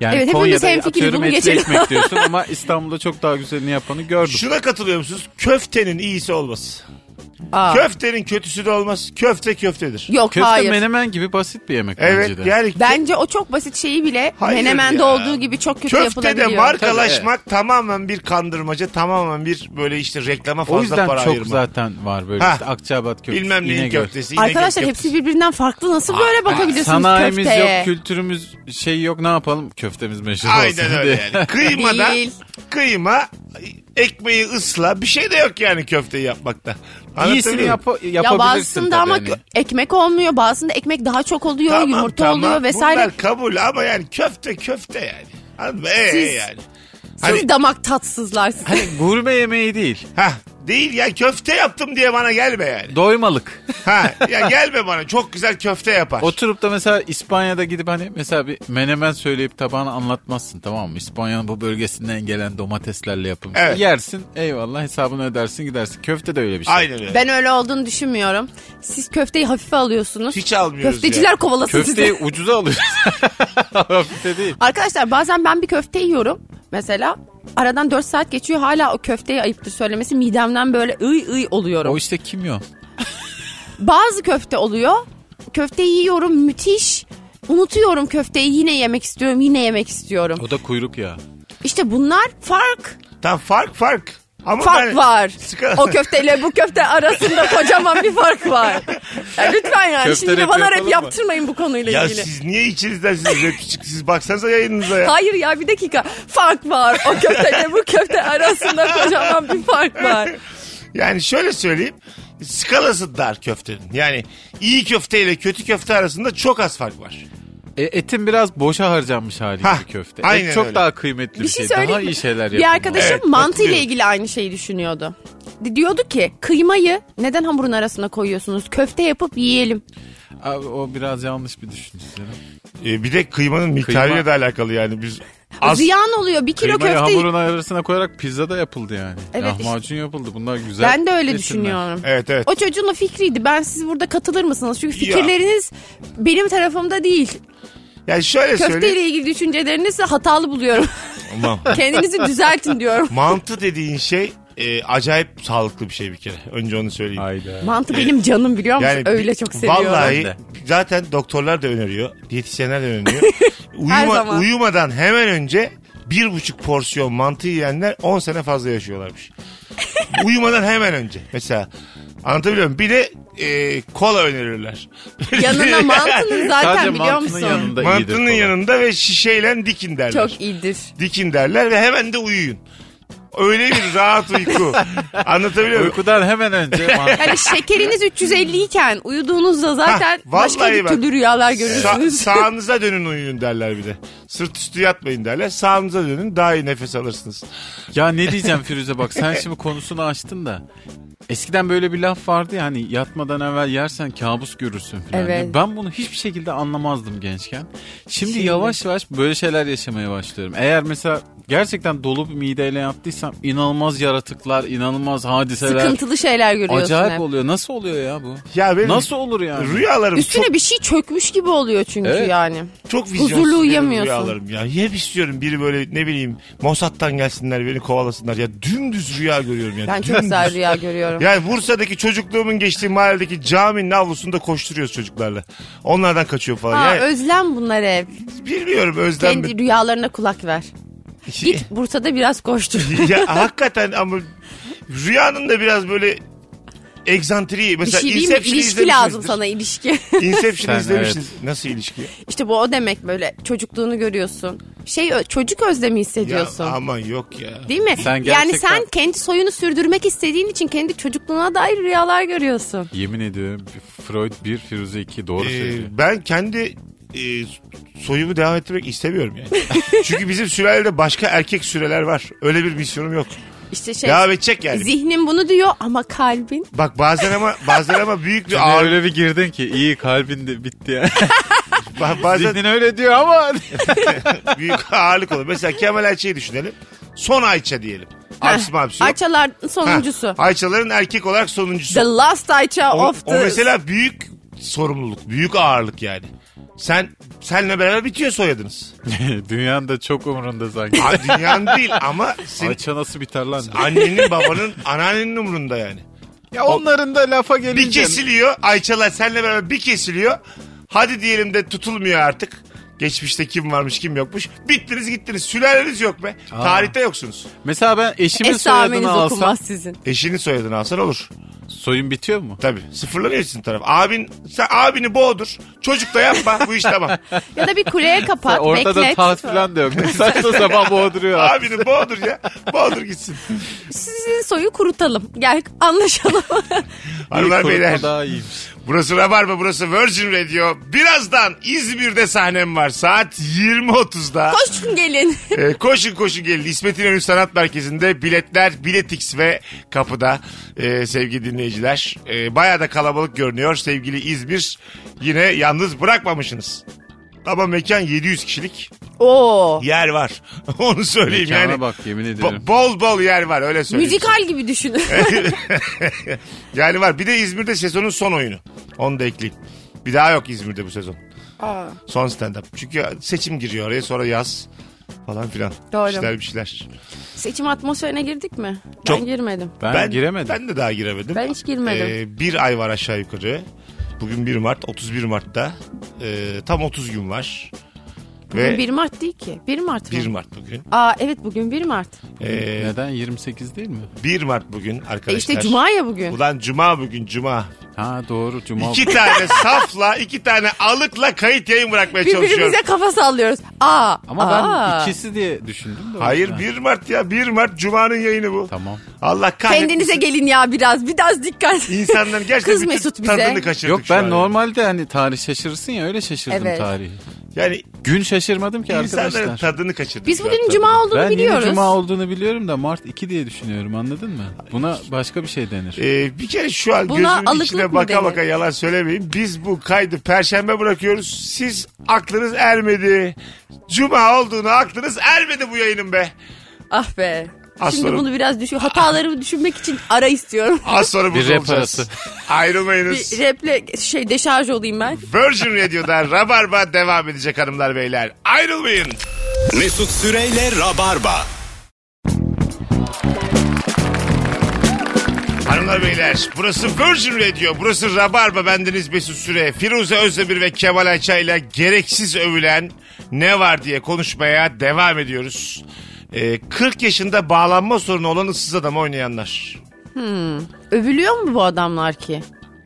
Speaker 4: Yani
Speaker 3: Evet, hepimiz
Speaker 4: Konya'da
Speaker 3: hemfikiriz,
Speaker 4: atıyorum
Speaker 3: bunu
Speaker 4: etli
Speaker 3: geçelim.
Speaker 4: ekmek diyorsun ama İstanbul'da çok daha güzelini yapanı gördüm.
Speaker 2: Şuna katılıyor musunuz? Köftenin iyisi olmaz.
Speaker 3: Aa.
Speaker 2: Köftenin kötüsü de olmaz. Köfte köftedir.
Speaker 3: Yok
Speaker 4: Köfte
Speaker 3: hayır.
Speaker 4: menemen gibi basit bir yemek
Speaker 2: Evet
Speaker 4: bence de.
Speaker 2: yani
Speaker 3: Bence o çok basit şeyi bile
Speaker 2: Hayır
Speaker 3: menemende
Speaker 2: ya.
Speaker 3: olduğu gibi çok kötü
Speaker 2: köftede
Speaker 3: yapılabiliyor.
Speaker 2: markalaşmak tamamen bir kandırmaca tamamen bir böyle işte reklama fazla
Speaker 4: o yüzden
Speaker 2: para
Speaker 4: çok
Speaker 2: ayırma.
Speaker 4: zaten var böyle
Speaker 2: Ha.
Speaker 4: işte Akçabat köftesi,
Speaker 2: Bilmem neyin
Speaker 4: İnegöl.
Speaker 2: köftesi. yine e,
Speaker 3: Arkadaşlar
Speaker 2: köfte.
Speaker 3: hepsi birbirinden farklı. Nasıl böyle bakabiliyorsunuz
Speaker 4: Sanayimiz yok,
Speaker 3: köfteye?
Speaker 4: kültürümüz şey yok ne yapalım köftemiz meşhur olsun
Speaker 2: Aynen
Speaker 4: diye.
Speaker 2: öyle yani. Kıymada,
Speaker 3: Değil.
Speaker 2: kıyma, ekmeği ısla bir şey de yok yani köfteyi yapmakta. Anlatabiliyor
Speaker 4: İyisini
Speaker 2: muyum?
Speaker 4: yap yapabilirsin
Speaker 3: ya bazısında
Speaker 4: tabii
Speaker 3: ama
Speaker 4: yani.
Speaker 3: kö- ekmek olmuyor. Bazısında ekmek daha çok oluyor.
Speaker 2: Tamam,
Speaker 3: yumurta
Speaker 2: tamam.
Speaker 3: oluyor vesaire.
Speaker 2: Bunlar hani kabul ama yani köfte köfte yani. Anladın mı? Ee,
Speaker 3: Siz-
Speaker 2: yani.
Speaker 3: Siz
Speaker 2: Hani,
Speaker 3: damak tatsızlarsınız.
Speaker 4: Hani gurme yemeği değil.
Speaker 2: ha, değil ya köfte yaptım diye bana gelme yani.
Speaker 4: Doymalık.
Speaker 2: ha, ya gelme bana çok güzel köfte yapar.
Speaker 4: Oturup da mesela İspanya'da gidip hani mesela bir menemen söyleyip tabağını anlatmazsın tamam mı? İspanya'nın bu bölgesinden gelen domateslerle yapılmış.
Speaker 2: Evet.
Speaker 4: Yersin eyvallah hesabını ödersin gidersin. Köfte de öyle bir şey.
Speaker 2: Aynen öyle.
Speaker 3: Ben öyle olduğunu düşünmüyorum. Siz köfteyi hafife alıyorsunuz.
Speaker 2: Hiç almıyoruz
Speaker 3: Köfteciler
Speaker 2: ya.
Speaker 3: kovalasın
Speaker 4: Köfteyi
Speaker 3: sizi.
Speaker 4: ucuza alıyorsun. Köfte değil.
Speaker 3: Arkadaşlar bazen ben bir köfte yiyorum. Mesela aradan 4 saat geçiyor hala o köfteyi ayıptır söylemesi midemden böyle ıy ıy oluyorum.
Speaker 4: O işte kimyon.
Speaker 3: Bazı köfte oluyor. Köfteyi yiyorum müthiş. Unutuyorum köfteyi yine yemek istiyorum yine yemek istiyorum.
Speaker 4: O da kuyruk yağı.
Speaker 3: İşte bunlar fark.
Speaker 2: Tam fark fark. Ama
Speaker 3: Fark
Speaker 2: ben-
Speaker 3: var.
Speaker 2: Sıkı-
Speaker 3: O köfteyle bu köfte arasında kocaman bir fark var. Ya lütfen yani
Speaker 4: Köfte
Speaker 3: şimdi
Speaker 4: rapi
Speaker 3: bana
Speaker 4: yapalım
Speaker 3: rap
Speaker 4: mı?
Speaker 3: yaptırmayın bu konuyla
Speaker 2: Ya
Speaker 3: ilgili.
Speaker 2: siz niye içinizden siz rapçi çık- siz baksanıza yayınınıza ya.
Speaker 3: Hayır ya bir dakika. Fark var. O köfteyle bu köfte arasında kocaman bir fark var.
Speaker 2: Yani şöyle söyleyeyim. Skalası dar köftenin. Yani iyi köfte ile kötü köfte arasında çok az fark var.
Speaker 4: E, etin biraz boşa harcanmış hali
Speaker 2: Hah,
Speaker 4: gibi köfte.
Speaker 2: aynen
Speaker 4: Et çok
Speaker 2: öyle.
Speaker 4: daha kıymetli bir,
Speaker 3: Bir şey
Speaker 4: şey.
Speaker 3: söyleyeyim
Speaker 4: Daha
Speaker 3: mi?
Speaker 4: iyi şeyler yapın.
Speaker 3: Bir arkadaşım
Speaker 2: Evet,
Speaker 3: mantı ile
Speaker 2: katılıyorum.
Speaker 3: ilgili aynı şeyi düşünüyordu. Di- Diyordu ki kıymayı neden hamurun arasına koyuyorsunuz? Köfte yapıp yiyelim.
Speaker 4: Abi, o biraz yanlış bir düşünce. canım.
Speaker 2: Ee, bir de kıymanın miktarıyla
Speaker 4: Kıyma-
Speaker 2: da alakalı yani. Biz az
Speaker 3: Ziyan oluyor. Bir kilo
Speaker 4: Kıymayı
Speaker 3: köfte.
Speaker 4: hamurun arasına koyarak pizza da yapıldı yani.
Speaker 3: Evet,
Speaker 4: Lahmacun yapıldı. Bunlar güzel.
Speaker 3: Ben de öyle
Speaker 4: besinler.
Speaker 3: düşünüyorum.
Speaker 2: Evet evet.
Speaker 3: O çocuğun o fikriydi. Ben siz burada katılır mısınız? Çünkü
Speaker 2: Ya.
Speaker 3: fikirleriniz benim tarafımda değil.
Speaker 2: Yani şöyle söyleyeyim.
Speaker 3: Köfteyle ilgili düşüncelerinizi hatalı buluyorum.
Speaker 2: Aman.
Speaker 3: Kendinizi düzeltin diyorum.
Speaker 2: Mantı dediğin şey e, acayip sağlıklı bir şey bir kere. Önce onu söyleyeyim.
Speaker 4: Hayda.
Speaker 3: Mantı benim canım biliyor musun?
Speaker 2: Yani
Speaker 3: Öyle çok seviyorum.
Speaker 2: Vallahi
Speaker 4: Ben de.
Speaker 2: zaten doktorlar da öneriyor. Diyetisyenler de öneriyor.
Speaker 3: Her
Speaker 2: Uyuma,
Speaker 3: zaman.
Speaker 2: uyumadan hemen önce bir buçuk porsiyon mantı yiyenler 10 sene fazla yaşıyorlarmış. uyumadan hemen önce. Mesela anlatabiliyor muyum? Bir de e, kola önerirler.
Speaker 3: Yanına mantının zaten
Speaker 4: Sadece
Speaker 3: biliyor
Speaker 4: mantının
Speaker 3: musun?
Speaker 4: yanında iyidir.
Speaker 2: Mantının
Speaker 4: falan.
Speaker 2: yanında ve şişeyle dikin derler.
Speaker 3: Çok iyidir.
Speaker 2: Dikin derler ve hemen de uyuyun. öyle bir rahat uyku. Anlatabiliyor muyum?
Speaker 4: Uykudan hemen önce man-
Speaker 3: Yani şekeriniz 350 iken uyuduğunuzda
Speaker 2: Hah,
Speaker 3: zaten
Speaker 2: vallahi
Speaker 3: başka bir
Speaker 2: bak.
Speaker 3: türlü rüyalar
Speaker 2: Sa-
Speaker 3: görürsünüz.
Speaker 2: sağınıza dönün uyuyun derler bir de. Sırt üstü yatmayın derler. Sağınıza dönün daha iyi nefes alırsınız.
Speaker 4: Ya ne diyeceğim Firuze bak sen şimdi konusunu açtın da. Eskiden böyle bir laf vardı ya hani yatmadan evvel yersen kabus görürsün falan. diye.
Speaker 3: Evet.
Speaker 4: Ben bunu hiçbir şekilde anlamazdım gençken. Şimdi, yavaş yavaş böyle şeyler yaşamaya başlıyorum. Eğer mesela gerçekten dolu bir mideyle yattıysam inanılmaz yaratıklar, inanılmaz hadiseler.
Speaker 3: Sıkıntılı şeyler görüyorsun
Speaker 4: Acayip
Speaker 3: hep.
Speaker 4: oluyor. Nasıl oluyor ya bu?
Speaker 2: Ya benim
Speaker 4: Nasıl olur yani?
Speaker 2: Rüyalarım
Speaker 3: Üstüne
Speaker 2: çok,
Speaker 3: bir şey çökmüş gibi oluyor çünkü
Speaker 4: Evet.
Speaker 3: yani.
Speaker 2: çok
Speaker 3: huzurlu
Speaker 2: vizyonsuz benim
Speaker 3: uyuyamıyorsun.
Speaker 2: rüyalarım ya. Hep istiyorum biri böyle ne bileyim Mossad'dan gelsinler beni kovalasınlar. Ya dümdüz rüya görüyorum ya.
Speaker 3: Ben çok
Speaker 2: dümdüz.
Speaker 3: güzel rüya görüyorum.
Speaker 2: Yani Bursa'daki çocukluğumun geçtiği mahalledeki caminin avlusunda koşturuyoruz çocuklarla. Onlardan kaçıyor falan.
Speaker 3: Aa,
Speaker 2: yani,
Speaker 3: özlem bunlar hep.
Speaker 2: bilmiyorum özlem.
Speaker 3: Kendi rüyalarına kulak ver. Git Bursa'da biraz koştur.
Speaker 2: şey- ya hakikaten ama rüyanın da biraz böyle egzantriği.
Speaker 3: bir
Speaker 2: Mesela
Speaker 3: şey diyeyim mi?
Speaker 2: Inception'ı
Speaker 3: İlişki lazım
Speaker 2: izlemişsinizdir.
Speaker 3: sana ilişki.
Speaker 2: Inception'ı
Speaker 4: Sen,
Speaker 2: izlemişsiniz. Nasıl ilişki?
Speaker 3: işte bu o demek böyle çocukluğunu görüyorsun. Şey ö- çocuk özlemi
Speaker 2: Ya,
Speaker 3: hissediyorsun.
Speaker 2: aman yok ya.
Speaker 3: Değil mi?
Speaker 4: Sen
Speaker 3: Yani
Speaker 4: gerçekten-
Speaker 3: sen kendi soyunu sürdürmek istediğin için kendi çocukluğuna dair rüyalar görüyorsun.
Speaker 4: Yemin ediyorum Freud 1, Firuze 2 doğru
Speaker 2: Ee,
Speaker 4: söylüyor.
Speaker 2: ben kendi e, soyumu devam ettirmek istemiyorum yani. Çünkü bizim sürelerde başka erkek süreler var. Öyle bir misyonum yok.
Speaker 3: İşte şey
Speaker 2: Devam edecek yani.
Speaker 3: zihnin bunu diyor ama kalbin
Speaker 2: Bak bazen ama bazen ama büyük bir
Speaker 4: Sen
Speaker 2: ağır
Speaker 4: öyle bir girdin ki iyi kalbin de bitti ya.
Speaker 2: ba- bazen
Speaker 4: Zihnin öyle diyor ama
Speaker 2: büyük ağırlık olur. Mesela Kemal Ayça'yı düşünelim. Son Ayça diyelim. Absi mabsi şey yok.
Speaker 3: Ayçaların
Speaker 2: Ha,
Speaker 3: sonuncusu.
Speaker 2: Ayçaların erkek olarak sonuncusu.
Speaker 3: The last Ayça
Speaker 2: O,
Speaker 3: of
Speaker 2: o
Speaker 3: the...
Speaker 2: mesela büyük sorumluluk, büyük ağırlık yani. Sen senle beraber bitiyor soyadınız.
Speaker 4: dünyanın da çok umurunda sanki.
Speaker 2: Ha, Dünyanın değil ama senin
Speaker 4: Ayça nasıl biter lan?
Speaker 2: annenin, babanın, anneannenin umurunda yani.
Speaker 4: Ya onların da lafa gelince.
Speaker 2: Bir kesiliyor Ayçalar senle beraber bir kesiliyor. Hadi diyelim de tutulmuyor artık. Geçmişte kim varmış kim yokmuş. Bittiniz gittiniz. Sülaleniz yok be. Tarihte yoksunuz.
Speaker 4: Mesela ben eşimin
Speaker 3: Esameniz
Speaker 4: soyadını alsam
Speaker 3: okunmaz sizin.
Speaker 2: Eşinin soyadını alsan olur.
Speaker 4: soyun bitiyor mu?
Speaker 2: Tabii sıfırlanıyorsun taraf. Abin, sen abini boğdur. Çocuk da yapma bu iş tamam.
Speaker 3: Ya da bir kuleye kapat,
Speaker 4: Ortada
Speaker 3: beklet.
Speaker 4: taht falan da yok. Ne Saçma sapan boğduruyor.
Speaker 2: Abini boğdur ya. Boğdur gitsin.
Speaker 3: Sizin soyu kurutalım. Gel anlaşalım.
Speaker 2: Hanımlar
Speaker 4: Kurutma
Speaker 2: beyler.
Speaker 4: Daha iyiymiş.
Speaker 2: Burası Rabarba, burası Virgin Radio. Birazdan İzmir'de sahnem var. Saat 20.30'da.
Speaker 3: Koşun gelin.
Speaker 2: Ee, koşun koşun gelin. İsmet İnönü Sanat Merkezi'nde biletler, biletix ve kapıda Ee, sevgili dinleyiciler. E, bayağı da kalabalık görünüyor sevgili İzmir. Yine yalnız bırakmamışsınız. Ama mekan 700 kişilik
Speaker 3: Oo.
Speaker 2: yer var. Onu söyleyeyim
Speaker 4: Mekana
Speaker 2: yani.
Speaker 4: bak yemin ediyorum.
Speaker 2: Bo- bol bol yer var öyle söyleyeyim.
Speaker 3: Müzikal gibi düşünün.
Speaker 2: yani var. Bir de İzmir'de sezonun son oyunu. Onu da ekleyeyim. Bir daha yok İzmir'de bu sezon. Son stand-up. Çünkü seçim giriyor oraya sonra yaz falan filan.
Speaker 3: Doğru.
Speaker 2: İşler bir şeyler.
Speaker 3: Seçim atmosferine girdik mi?
Speaker 2: Çok.
Speaker 3: Ben girmedim.
Speaker 4: ben, giremedim.
Speaker 2: Ben de daha giremedim.
Speaker 3: Ben hiç girmedim.
Speaker 2: Ee, bir ay var aşağı yukarı. Bugün 1 Mart, 31 Mart'ta. Ee, tam 30 gün var. Ve
Speaker 3: Bugün 1 Mart değil ki. 1 Mart mı?
Speaker 2: 1 Mart bugün.
Speaker 3: Aa evet bugün 1 Mart.
Speaker 2: Ee,
Speaker 4: Neden 28 değil mi?
Speaker 2: 1 Mart bugün
Speaker 3: E
Speaker 2: arkadaşlar.
Speaker 3: işte cuma ya bugün.
Speaker 2: Ulan cuma bugün cuma.
Speaker 4: Ha doğru cuma.
Speaker 2: İki tane safla, iki tane alıkla kayıt yayın bırakmaya çalışıyorum.
Speaker 3: Birbirimize kafa sallıyoruz. Aa.
Speaker 4: Ama ben
Speaker 3: aa.
Speaker 4: ikisi diye düşündüm de.
Speaker 2: Hayır
Speaker 4: Ha.
Speaker 2: 1 Mart ya 1 Mart Cuma'nın yayını bu.
Speaker 4: Tamam.
Speaker 2: Allah kahretsin.
Speaker 3: Kendinize gelin ya biraz. Biraz dikkat.
Speaker 2: İnsanların gerçekten
Speaker 3: Kız
Speaker 2: bütün
Speaker 3: Mesut bize.
Speaker 2: tadını kaçırdık
Speaker 4: Yok
Speaker 2: şu an.
Speaker 4: ben normalde hani tarih şaşırırsın ya öyle şaşırdım
Speaker 3: Evet.
Speaker 4: tarihi.
Speaker 2: Yani
Speaker 4: Gün şaşırmadım ki
Speaker 2: insanların
Speaker 4: arkadaşlar.
Speaker 2: tadını kaçırdık.
Speaker 3: Biz
Speaker 2: şu
Speaker 3: bugün
Speaker 2: an.
Speaker 3: cuma olduğunu
Speaker 4: ben
Speaker 3: biliyoruz.
Speaker 4: yeni cuma olduğunu biliyorum da Mart 2 diye düşünüyorum anladın mı? Buna başka bir şey denir.
Speaker 2: Ee, bir kere şu an
Speaker 3: Buna
Speaker 2: gözümün
Speaker 3: alıklık
Speaker 2: içine
Speaker 3: mı
Speaker 2: baka
Speaker 3: denir?
Speaker 2: baka yalan söylemeyin. Biz bu kaydı perşembe bırakıyoruz. Siz aklınız ermedi. Cuma olduğunu aklınız ermedi bu yayının be.
Speaker 3: Ah be.
Speaker 2: Az
Speaker 3: Şimdi
Speaker 2: sonra-
Speaker 3: bunu biraz düşün. Hatalarımı düşünmek için ara istiyorum.
Speaker 2: Az sonra burada
Speaker 4: rap
Speaker 2: olacağız.
Speaker 4: arası.
Speaker 2: Ayrılmayınız.
Speaker 3: Bir raple şey deşarj olayım ben.
Speaker 2: Virgin Radio'da Rabarba devam edecek hanımlar beyler. Ayrılmayın.
Speaker 1: Mesut Süreyle Rabarba.
Speaker 2: Hanımlar beyler burası Virgin Radio burası Rabarba bendeniz Mesut Süre Firuze Özdemir ve Kemal Ayça ile gereksiz övülen ne var diye konuşmaya devam ediyoruz. Ee, 40 yaşında bağlanma sorunu olan ıssız adam oynayanlar.
Speaker 3: Övülüyor mu bu adamlar ki?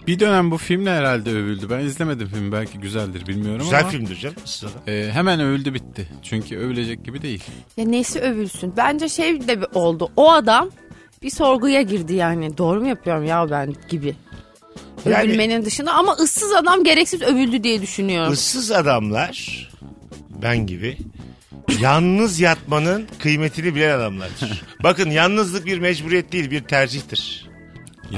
Speaker 4: Bir dönem bu filmle herhalde övüldü. Ben izlemedim filmi belki güzeldir bilmiyorum
Speaker 2: Güzel
Speaker 4: ama.
Speaker 2: filmdir canım. Siz adam.
Speaker 4: e, hemen övüldü bitti. Çünkü övülecek gibi değil.
Speaker 3: Ya nesi övülsün? Bence şey de bir oldu. O adam bir sorguya girdi yani. Doğru mu yapıyorum ya ben gibi.
Speaker 2: Yani-
Speaker 3: Övülmenin dışında ama ıssız adam gereksiz övüldü diye düşünüyorum.
Speaker 2: Issız adamlar ben gibi yalnız yatmanın kıymetini bilen adamlardır. Bakın yalnızlık bir mecburiyet değil bir tercihtir.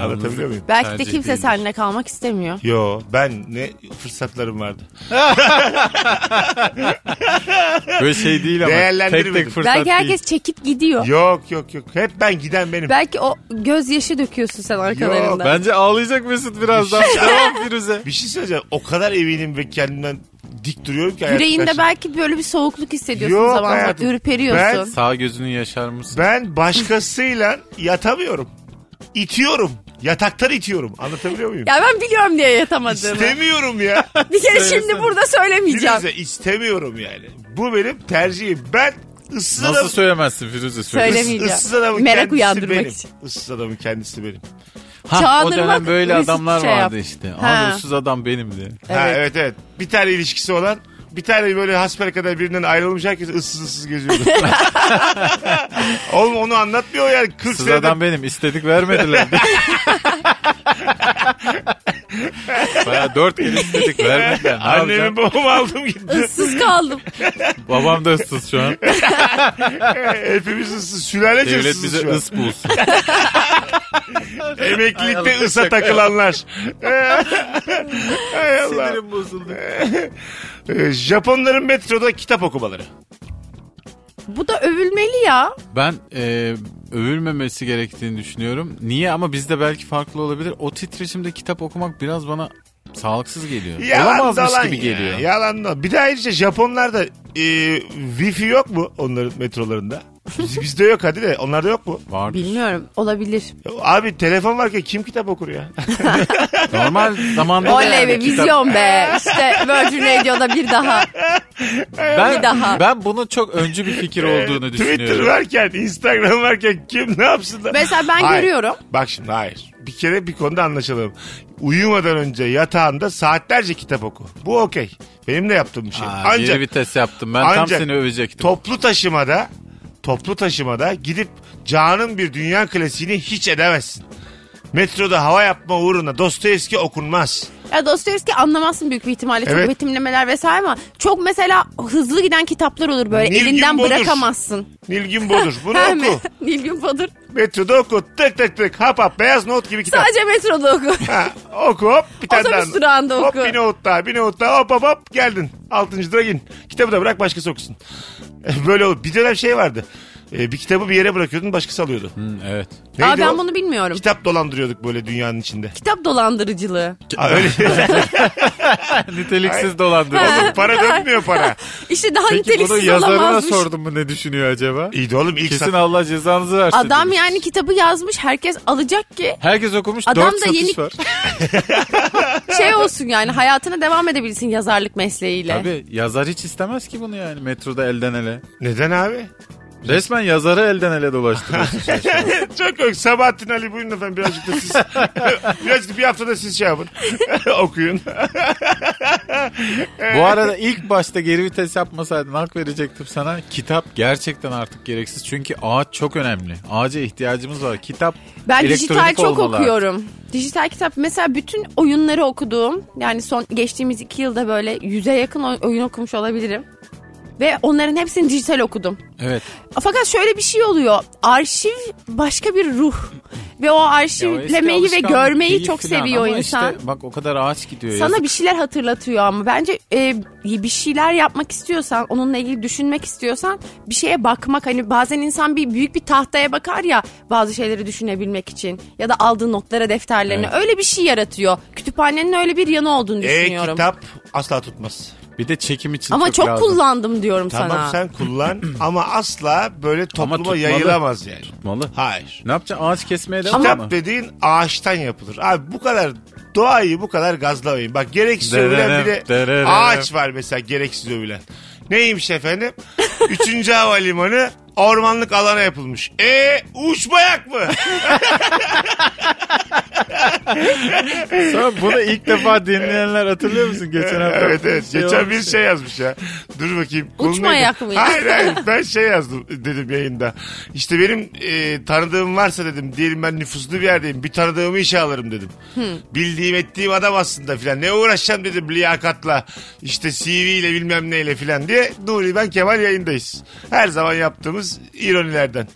Speaker 2: Anlatabiliyor muyum?
Speaker 3: Belki de
Speaker 4: tercih
Speaker 3: kimse
Speaker 4: değildir.
Speaker 3: seninle kalmak istemiyor.
Speaker 2: Yo ben ne fırsatlarım vardı.
Speaker 4: Böyle şey değil ama tek
Speaker 2: Değerlendirmedim.
Speaker 4: tek fırsat
Speaker 3: Belki herkes
Speaker 4: değil.
Speaker 3: çekip gidiyor.
Speaker 2: Yok yok yok hep ben giden benim.
Speaker 3: Belki o gözyaşı döküyorsun sen arkalarında.
Speaker 4: Bence ağlayacak Mesut birazdan. tamam Firuze.
Speaker 2: Bir şey söyleyeceğim o kadar eminim ve kendimden dik duruyorum ki. hayatta
Speaker 3: Yüreğinde
Speaker 2: karşı-
Speaker 3: belki böyle bir soğukluk hissediyorsun
Speaker 2: Yok
Speaker 3: zaman zaman.
Speaker 2: hayatım.
Speaker 3: Ürperiyorsun.
Speaker 4: Sağ gözünü yaşar mısın?
Speaker 2: Ben başkasıyla yatamıyorum. İtiyorum. Yataktan itiyorum. Anlatabiliyor muyum?
Speaker 3: Ya ben biliyorum diye yatamadığımı.
Speaker 2: İstemiyorum ya.
Speaker 3: bir kere
Speaker 4: Söylesene.
Speaker 3: şimdi burada söylemeyeceğim.
Speaker 2: Firuze istemiyorum yani. Bu benim tercihim. Ben ıssız
Speaker 4: Nasıl
Speaker 2: adam...
Speaker 4: söylemezsin Firuze? Söyle.
Speaker 3: Söyle. Söylemeyeceğim.
Speaker 2: Issız adamın
Speaker 3: Merak
Speaker 2: kendisi
Speaker 3: uyandırmak
Speaker 2: benim.
Speaker 3: için.
Speaker 2: Issız adamın kendisi benim.
Speaker 4: Ha, o
Speaker 3: Çağdırmak
Speaker 4: dönem böyle
Speaker 3: Mesut
Speaker 4: adamlar
Speaker 3: şey
Speaker 4: vardı
Speaker 3: yap.
Speaker 4: işte.
Speaker 3: Ha.
Speaker 4: Abi ıssız adam benim diye.
Speaker 2: Ha,
Speaker 3: Evet.
Speaker 2: evet evet. Bir tane ilişkisi olan bir tane böyle hasbel kadar birinden ayrılmış herkes ıssız ıssız geziyordu. Oğlum onu anlatmıyor yani. 40
Speaker 4: Issız
Speaker 2: seneden
Speaker 4: adam benim. İstedik vermediler. Baya dört kere istedik vermediler. Ne yapacağım?
Speaker 2: Annemi babamı aldım gitti.
Speaker 3: Issız kaldım.
Speaker 4: Babam da ıssız şu an.
Speaker 2: Hepimiz ıssız. Sülalece
Speaker 4: Devlet
Speaker 2: ıssız
Speaker 4: bize
Speaker 2: şu an.
Speaker 4: ıs bulsun. Ay
Speaker 2: Emeklilikte
Speaker 4: Allah,
Speaker 2: ısa
Speaker 4: şaka.
Speaker 2: takılanlar. Hay Allah.
Speaker 4: Sinirim bozuldu.
Speaker 2: Ee, Japonların metroda kitap okumaları.
Speaker 3: Bu da övülmeli ya.
Speaker 4: Ben e, övülmemesi gerektiğini düşünüyorum. Niye ama bizde belki farklı olabilir. O titreşimde kitap okumak biraz bana sağlıksız geliyor. Olamazmış
Speaker 2: dalan
Speaker 4: gibi
Speaker 2: ya,
Speaker 4: geliyor.
Speaker 2: Yalan da. Bir de ayrıca Japonlarda e, wifi yok mu onların metrolarında? Biz- Bizde yok hadi de onlarda yok mu?
Speaker 4: Var.
Speaker 3: Bilmiyorum. Olabilir.
Speaker 2: Abi telefon varken kim kitap okur ya?
Speaker 4: Normal zamanda da
Speaker 3: Oley
Speaker 4: yani
Speaker 3: be
Speaker 4: kitap-
Speaker 3: vizyon be. İşte Virgin Radio'da bir daha.
Speaker 4: Ben,
Speaker 3: Bir daha.
Speaker 4: ben bunun çok öncü bir
Speaker 2: Ee,
Speaker 4: fikir olduğunu
Speaker 2: Twitter
Speaker 4: düşünüyorum.
Speaker 2: varken, Instagram varken kim ne yapsın da?
Speaker 3: Mesela ben
Speaker 2: Hayır.
Speaker 3: görüyorum.
Speaker 2: Bak şimdi hayır. Bir kere bir konuda anlaşalım. Uyumadan önce yatağında saatlerce kitap oku. Bu okey. Benim de yaptığım bir şey.
Speaker 4: Aa,
Speaker 2: ancak
Speaker 4: Geri vites yaptım. Ben tam
Speaker 2: ancak
Speaker 4: seni övecektim.
Speaker 2: toplu taşımada toplu taşımada gidip canın bir dünya klasiğini hiç edemezsin. Metroda hava yapma uğruna Dostoyevski okunmaz.
Speaker 3: Ya Dostoyevski anlamazsın büyük bir ihtimalle. Çok
Speaker 2: Evet.
Speaker 3: betimlemeler vesaire ama çok mesela hızlı giden kitaplar olur böyle.
Speaker 2: Nilgün
Speaker 3: Elinden
Speaker 2: Bodur.
Speaker 3: bırakamazsın.
Speaker 2: Nilgün Bodur. Bunu
Speaker 3: Ha, mi?
Speaker 2: oku.
Speaker 3: Nilgün Bodur.
Speaker 2: Metroda oku. Tık tık tık. Hap hap. Beyaz not gibi kitap.
Speaker 3: Sadece metroda oku.
Speaker 2: Ha, oku hop bir tane
Speaker 3: Otobüs durağında
Speaker 2: Hop
Speaker 3: oku.
Speaker 2: bir nohut daha bir nohut daha hop hop hop geldin. Altıncı durağın. Kitabı da bırak başkası okusun. Böyle olur. Bir dönem şey vardı. Ee, bir kitabı bir yere bırakıyordun başkası alıyordu.
Speaker 4: Hı, evet.
Speaker 3: Aa,
Speaker 2: Neydi
Speaker 3: ben
Speaker 2: o?
Speaker 3: bunu bilmiyorum.
Speaker 2: Kitap dolandırıyorduk böyle dünyanın içinde.
Speaker 3: Kitap dolandırıcılığı.
Speaker 2: Aa, öyle.
Speaker 4: Niteliksiz dolandırıcı.
Speaker 2: Oğlum, para dönmüyor para.
Speaker 3: İşte daha
Speaker 4: Peki bunu
Speaker 3: niteliksiz
Speaker 4: yazarına
Speaker 3: olamazmış.
Speaker 4: sordum mu ne düşünüyor acaba?
Speaker 2: İyi de oğlum ilk
Speaker 4: Kesin
Speaker 2: sat-
Speaker 4: Allah cezanızı versin.
Speaker 3: Adam
Speaker 4: demiş.
Speaker 3: yani kitabı yazmış herkes alacak ki
Speaker 4: Herkes okumuş
Speaker 3: Adam
Speaker 4: dört
Speaker 3: da
Speaker 4: satış
Speaker 3: yeni-
Speaker 4: var.
Speaker 3: şey olsun yani hayatına devam edebilsin yazarlık mesleğiyle.
Speaker 4: Tabii yazar hiç istemez ki bunu yani metroda elden ele.
Speaker 2: Neden abi?
Speaker 4: Resmen yazarı elden ele dolaştırıyorsun.
Speaker 2: Çok yok. Sabahattin Ali buyurun efendim birazcık da siz. birazcık bir haftada siz şey yapın. Okuyun.
Speaker 4: Bu arada ilk başta geri vites yapmasaydın hak verecektim sana. Kitap gerçekten artık gereksiz. Çünkü ağaç çok önemli. Ağaca ihtiyacımız var. Kitap
Speaker 3: Ben dijital
Speaker 4: elektronik
Speaker 3: çok
Speaker 4: olmalı
Speaker 3: okuyorum. Dijital kitap mesela bütün oyunları okuduğum yani son geçtiğimiz iki yılda böyle yüze yakın oy- oyun okumuş olabilirim. Ve onların hepsini dijital okudum.
Speaker 4: artık. Evet.
Speaker 3: Fakat şöyle bir şey oluyor. Arşiv başka bir ruh. Ve o
Speaker 4: Ya o eski
Speaker 3: arşivlemeyi ve
Speaker 4: alışkanlık
Speaker 3: görmeyi
Speaker 4: değil
Speaker 3: çok
Speaker 4: filan
Speaker 3: seviyor
Speaker 4: ama
Speaker 3: insan.
Speaker 4: Işte, bak o kadar ağaç gidiyor.
Speaker 3: Sana
Speaker 4: yazık.
Speaker 3: bir şeyler hatırlatıyor ama bence e, bir şeyler yapmak istiyorsan, onunla ilgili düşünmek istiyorsan bir şeye bakmak hani bazen insan bir büyük bir tahtaya bakar ya bazı şeyleri düşünebilmek için ya da aldığı notlara, defterlerine
Speaker 4: Evet. E,
Speaker 3: öyle bir şey yaratıyor. Kütüphanenin öyle bir yanı olduğunu düşünüyorum.
Speaker 2: E-kitap E, asla tutmaz.
Speaker 4: Bir de çekim için
Speaker 3: ama
Speaker 4: çok,
Speaker 3: çok
Speaker 4: lazım.
Speaker 3: kullandım diyorum
Speaker 2: Tamam
Speaker 3: sana.
Speaker 2: sen kullan ama asla böyle topluma
Speaker 4: tutmalı.
Speaker 2: yayılamaz yani.
Speaker 4: Tutmalı.
Speaker 2: Hayır.
Speaker 4: Ne yapacaksın? Ağaç kesmeye devam
Speaker 2: Kitap
Speaker 4: mı?
Speaker 2: dediğin ağaçtan yapılır. Abi bu kadar doğayı bu kadar gazlamayın. Bak gereksiz
Speaker 4: Dererem,
Speaker 2: övülen bir de
Speaker 4: dererem.
Speaker 2: ağaç var mesela gereksiz övülen. Neymiş efendim? Üçüncü havalimanı ormanlık alana yapılmış. E uçmayak mı?
Speaker 4: Sonra bunu ilk defa dinleyenler hatırlıyor musun? Geçen hafta.
Speaker 2: Evet evet.
Speaker 4: şey
Speaker 2: Geçen
Speaker 4: olmuş
Speaker 2: bir
Speaker 4: ya.
Speaker 2: şey yazmış ya. Dur bakayım. Konu
Speaker 3: Uçma
Speaker 2: neydi?
Speaker 3: ayak mı?
Speaker 2: Hayır hayır. Ben şey yazdım dedim yayında. İşte benim e, tanıdığım varsa dedim. Diyelim ben nüfuslu bir yerdeyim. Bir tanıdığımı işe alırım dedim. Bildiğim ettiğim adam aslında filan. Ne uğraşacağım dedim liyakatla. İşte CV ile bilmem neyle filan diye. Nuri ben Kemal yayındayız. Her zaman yaptığımız ironilerden.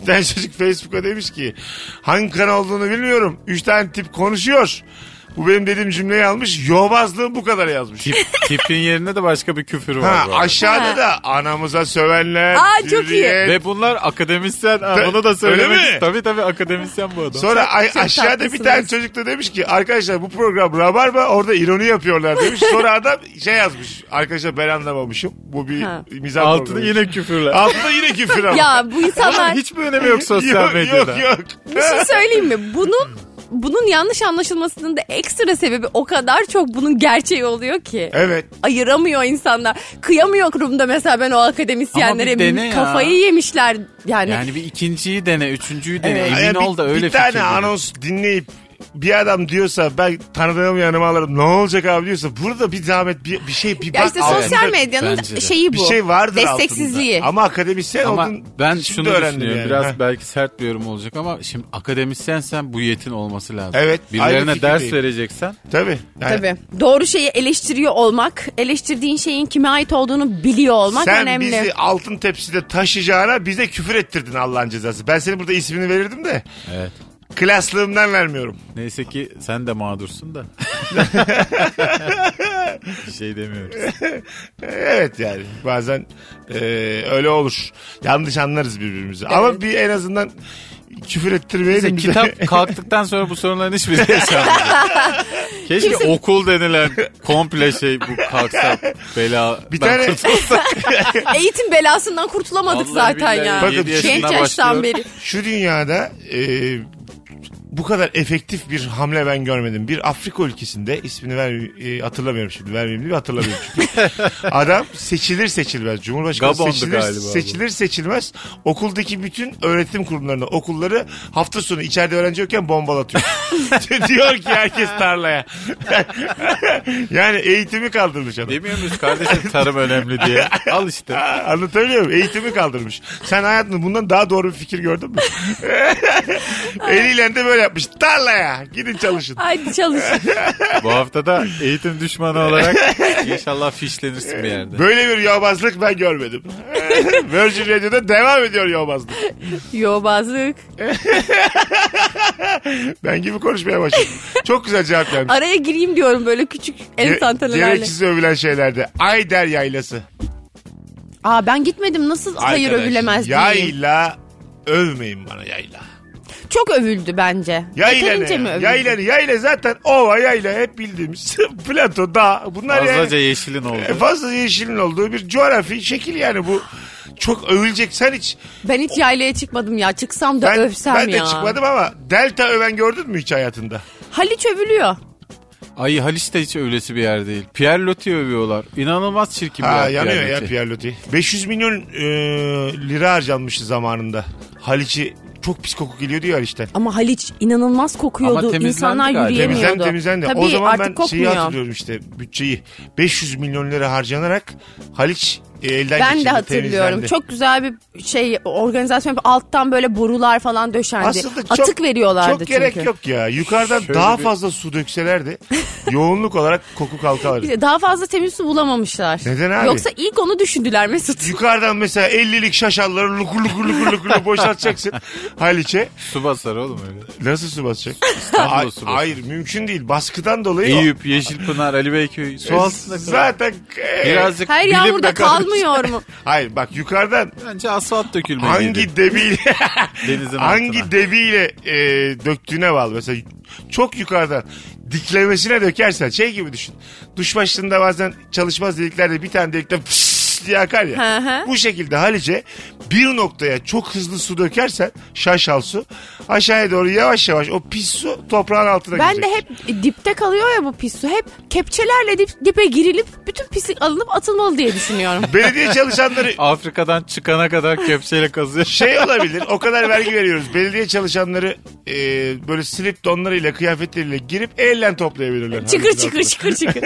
Speaker 2: Bir tane çocuk Facebook'a demiş ki hangi kanal olduğunu bilmiyorum. Üç tane tip konuşuyor. Bu benim dediğim cümleyi almış. Yobazlığım bu kadar yazmış.
Speaker 4: Tip, tipin yerine de başka bir küfür var.
Speaker 2: Ha,
Speaker 4: bu arada.
Speaker 2: aşağıda
Speaker 3: Ha.
Speaker 2: da anamıza sövenler.
Speaker 3: Aa, çok iyi.
Speaker 2: zürriyet.
Speaker 4: Ve bunlar akademisyen. Ha,
Speaker 2: Ta-
Speaker 4: Bunu da söylemek.
Speaker 2: Öyle mi?
Speaker 4: Tabii tabii akademisyen bu adam.
Speaker 2: Sonra ay-
Speaker 3: çok
Speaker 2: aşağıda bir
Speaker 3: tatlısınız.
Speaker 2: tane çocuk da demiş ki arkadaşlar bu program Rabarba orada ironi yapıyorlar demiş. Sonra adam şey yazmış. Arkadaşlar ben anlamamışım. Bu bir
Speaker 3: Ha.
Speaker 2: mizah
Speaker 4: Altını
Speaker 2: programı.
Speaker 4: yine küfürler.
Speaker 2: Altında yine küfür ama.
Speaker 3: Ya bu
Speaker 4: Oğlum
Speaker 3: insanlar
Speaker 4: hiçbir önemi yok sosyal
Speaker 2: yok,
Speaker 4: medyada.
Speaker 2: yok yok.
Speaker 3: bir şey söyleyeyim mi? Bunun bunun yanlış anlaşılmasının da ekstra sebebi o kadar çok bunun gerçeği oluyor ki.
Speaker 2: Evet.
Speaker 3: Ayıramıyor insanlar. Kıyamıyorum da mesela ben o
Speaker 4: Ama
Speaker 3: akademisyenlere
Speaker 4: bir dene ya.
Speaker 3: kafayı yemişler yani.
Speaker 4: Yani bir ikinciyi dene, üçüncüyü dene.
Speaker 3: Evet.
Speaker 4: Emin
Speaker 2: Ya bir-
Speaker 4: ol da öyle
Speaker 2: Bir tane
Speaker 4: fikir verir.
Speaker 2: anons dinleyip bir adam diyorsa ben tanıdığım yanıma alırım ne olacak abi diyorsa burada bir zahmet bir, bir şey bir
Speaker 3: ya işte
Speaker 2: altında
Speaker 3: sosyal medyanın
Speaker 4: Bence de.
Speaker 3: şeyi bu.
Speaker 2: bir şey vardır
Speaker 3: Desteksizliği.
Speaker 2: altında. Ama akademisyen
Speaker 4: Ama
Speaker 2: oldun,
Speaker 4: ben
Speaker 2: şimdi
Speaker 4: şunu
Speaker 2: öğrendim
Speaker 4: düşünüyorum.
Speaker 2: yani.
Speaker 4: Biraz
Speaker 2: Heh.
Speaker 4: belki sert bir yorum olacak ama şimdi akademisyensen bu yetin olması lazım.
Speaker 2: Evet, aynı
Speaker 4: Birilerine ders
Speaker 2: fikirdeyim.
Speaker 4: vereceksen
Speaker 2: Tabii. Yani
Speaker 3: Tabii. Doğru şeyi eleştiriyor olmak, eleştirdiğin şeyin kime ait olduğunu biliyor olmak
Speaker 2: Sen
Speaker 3: önemli.
Speaker 2: bizi altın tepside taşıyacağına bize küfür ettirdin Allah'ın cezası. Ben senin burada ismini verirdim de.
Speaker 4: Evet.
Speaker 2: Klaslığımdan vermiyorum.
Speaker 4: neyse ki sen de mağdursun da. Bir şey demiyoruz.
Speaker 2: Evet yani bazen e, öyle olur. Yanlış anlarız birbirimizi. Ama bir en azından küfür
Speaker 4: Neyse
Speaker 2: ettirmeyelim bize.
Speaker 4: kitap kalktıktan sonra bu sorunların hiçbiri yaşanmıyor. Keşke
Speaker 3: Kimse-
Speaker 4: okul denilen komple şey bu kalksa bela.
Speaker 2: Bir
Speaker 4: ben
Speaker 2: tane-
Speaker 4: kurtulsam.
Speaker 3: Eğitim belasından kurtulamadık
Speaker 4: Vallahi
Speaker 3: zaten
Speaker 4: billahi
Speaker 3: ya.
Speaker 4: yedi
Speaker 2: Bakın,
Speaker 4: yaşından
Speaker 3: Genç yaştan
Speaker 4: başlıyor.
Speaker 3: beri.
Speaker 2: Şu dünyada e, bu kadar efektif bir hamle ben görmedim. Bir Afrika ülkesinde ismini ver, e, hatırlamıyorum şimdi vermeyeyim diye hatırlamıyorum çünkü. Adam seçilir seçilmez. Cumhurbaşkanı
Speaker 4: Gabon'du
Speaker 2: seçilir,
Speaker 4: galiba bu.
Speaker 2: seçilir seçilmez okuldaki bütün öğretim kurumlarını okulları hafta sonu içeride öğrenci yokken bombalatıyor. Diyor ki herkes tarlaya. yani eğitimi kaldırmış adam.
Speaker 4: Demiyor muyuz kardeşim tarım önemli diye. Al işte.
Speaker 2: Ha, Anlatabiliyor muyum? Eğitimi kaldırmış. Sen hayatında bundan daha doğru bir fikir gördün mü? Eliyle de böyle yapmış. Tarlaya gidin çalışın.
Speaker 3: Haydi çalış.
Speaker 4: Bu hafta da eğitim düşmanı olarak inşallah fişlenirsin bir yerde.
Speaker 2: Böyle bir yobazlık ben görmedim. Virgin Radio'da devam ediyor yobazlık.
Speaker 3: Yobazlık.
Speaker 2: Ben gibi konuşmaya başladım. Çok güzel cevap vermiş.
Speaker 3: Araya gireyim diyorum böyle küçük
Speaker 2: Ge-
Speaker 3: enstantanelerle.
Speaker 2: Gereksiz övülen şeylerde. Ayder yaylası.
Speaker 3: Aa ben gitmedim nasıl hayır
Speaker 4: Arkadaş,
Speaker 3: övülemez diyeyim.
Speaker 2: Yayla övmeyin bana yayla.
Speaker 3: Çok övüldü bence.
Speaker 2: Yayla
Speaker 3: Yeterince mi
Speaker 2: ne?
Speaker 3: övüldü?
Speaker 2: Yayla, ne? yayla zaten ova yayla hep bildiğimiz. Plato, dağ. Bunlar yani-
Speaker 4: Fazlaca yeşilin
Speaker 2: E,
Speaker 4: oldu.
Speaker 2: fazla yeşilin olduğu bir coğrafi şekil yani bu. Çok övülecek sen hiç.
Speaker 3: Ben hiç yaylaya çıkmadım ya. Çıksam da
Speaker 2: Ben,
Speaker 3: övsem
Speaker 2: ben de
Speaker 3: ya.
Speaker 2: çıkmadım ama delta öven gördün mü hiç hayatında?
Speaker 3: Haliç övülüyor.
Speaker 4: Ay Haliç de hiç öylesi bir yer değil. Pierre Loti övüyorlar. İnanılmaz çirkin bir
Speaker 2: Ha,
Speaker 4: yer
Speaker 2: yanıyor
Speaker 4: Pierre
Speaker 2: ya
Speaker 4: Loti.
Speaker 2: Pierre Loti. 500 milyon e, lira harcanmıştı zamanında. Haliç'i çok pis koku geliyor diyor Haliç'ten.
Speaker 3: Ama Haliç inanılmaz
Speaker 4: Ama
Speaker 3: kokuyordu.
Speaker 4: temizlendi
Speaker 3: İnsanlar
Speaker 4: galiba.
Speaker 3: yürüyemiyordu.
Speaker 2: Temizlendi temizlendi.
Speaker 3: Tabii
Speaker 2: o zaman
Speaker 3: artık
Speaker 2: ben şeyi
Speaker 3: kokmuyor.
Speaker 2: hatırlıyorum işte bütçeyi. 500 milyon lira harcanarak Haliç e, elden
Speaker 3: Ben
Speaker 2: geçirdi,
Speaker 3: de hatırlıyorum.
Speaker 2: temizlendi.
Speaker 3: Çok güzel bir şey organizasyon. Alttan böyle borular falan döşendi.
Speaker 2: Aslında çok,
Speaker 3: Hani Atık veriyorlardı
Speaker 2: çok gerek
Speaker 3: çünkü.
Speaker 2: yok ya. Yukarıdan
Speaker 4: Şöyle
Speaker 2: daha
Speaker 4: bir-
Speaker 2: fazla su dökselerdi yoğunluk olarak koku kalkardı.
Speaker 3: İşte Daha fazla temiz su bulamamışlar.
Speaker 2: Neden abi?
Speaker 3: Yoksa ilk onu düşündüler Mesut.
Speaker 2: Yukarıdan mesela 50'lik şaşalları lukur lukur lukur lukur boşaltacaksın Haliç'e.
Speaker 4: Su basar oğlum öyle.
Speaker 2: Nasıl su basacak?
Speaker 4: İstanbul'a
Speaker 2: Ay-
Speaker 4: su basar.
Speaker 2: Hayır mümkün değil. Baskıdan dolayı o-
Speaker 4: Eyüp, Yeşilpınar, Ali Beyköy. Su altında kalır.
Speaker 2: E, Zaten e,
Speaker 4: Birazcık
Speaker 3: Her
Speaker 4: bilim
Speaker 3: yağmurda
Speaker 4: de kalmış.
Speaker 3: kalmıyor mu?
Speaker 2: Hayır bak yukarıdan
Speaker 4: Bence asfalt dökülmeliydi.
Speaker 2: hangi debiyle
Speaker 4: Denizin altına.
Speaker 2: hangi debiyle e, döktüğüne bağlı. Mesela çok yukarıdan diklemesine dökersen şey gibi düşün. Duş başlığında bazen çalışmaz deliklerde bir tane delikten pıs diye akar ya.
Speaker 3: Hı hı.
Speaker 2: Bu şekilde Halice bir noktaya çok hızlı su dökersen şaşal su aşağıya doğru yavaş yavaş o pis su toprağın altına
Speaker 3: Ben
Speaker 2: girecek.
Speaker 3: de hep dipte kalıyor ya bu pis su. Hep kepçelerle dip, dipe girilip bütün pislik alınıp atılmalı diye düşünüyorum.
Speaker 2: Belediye çalışanları
Speaker 4: Afrika'dan çıkana kadar kepçeyle kazıyor.
Speaker 2: şey olabilir o kadar vergi veriyoruz. Belediye çalışanları e, böyle slip donlarıyla kıyafetleriyle girip elle toplayabilirler.
Speaker 3: çıkır çıkır çıkır çıkır.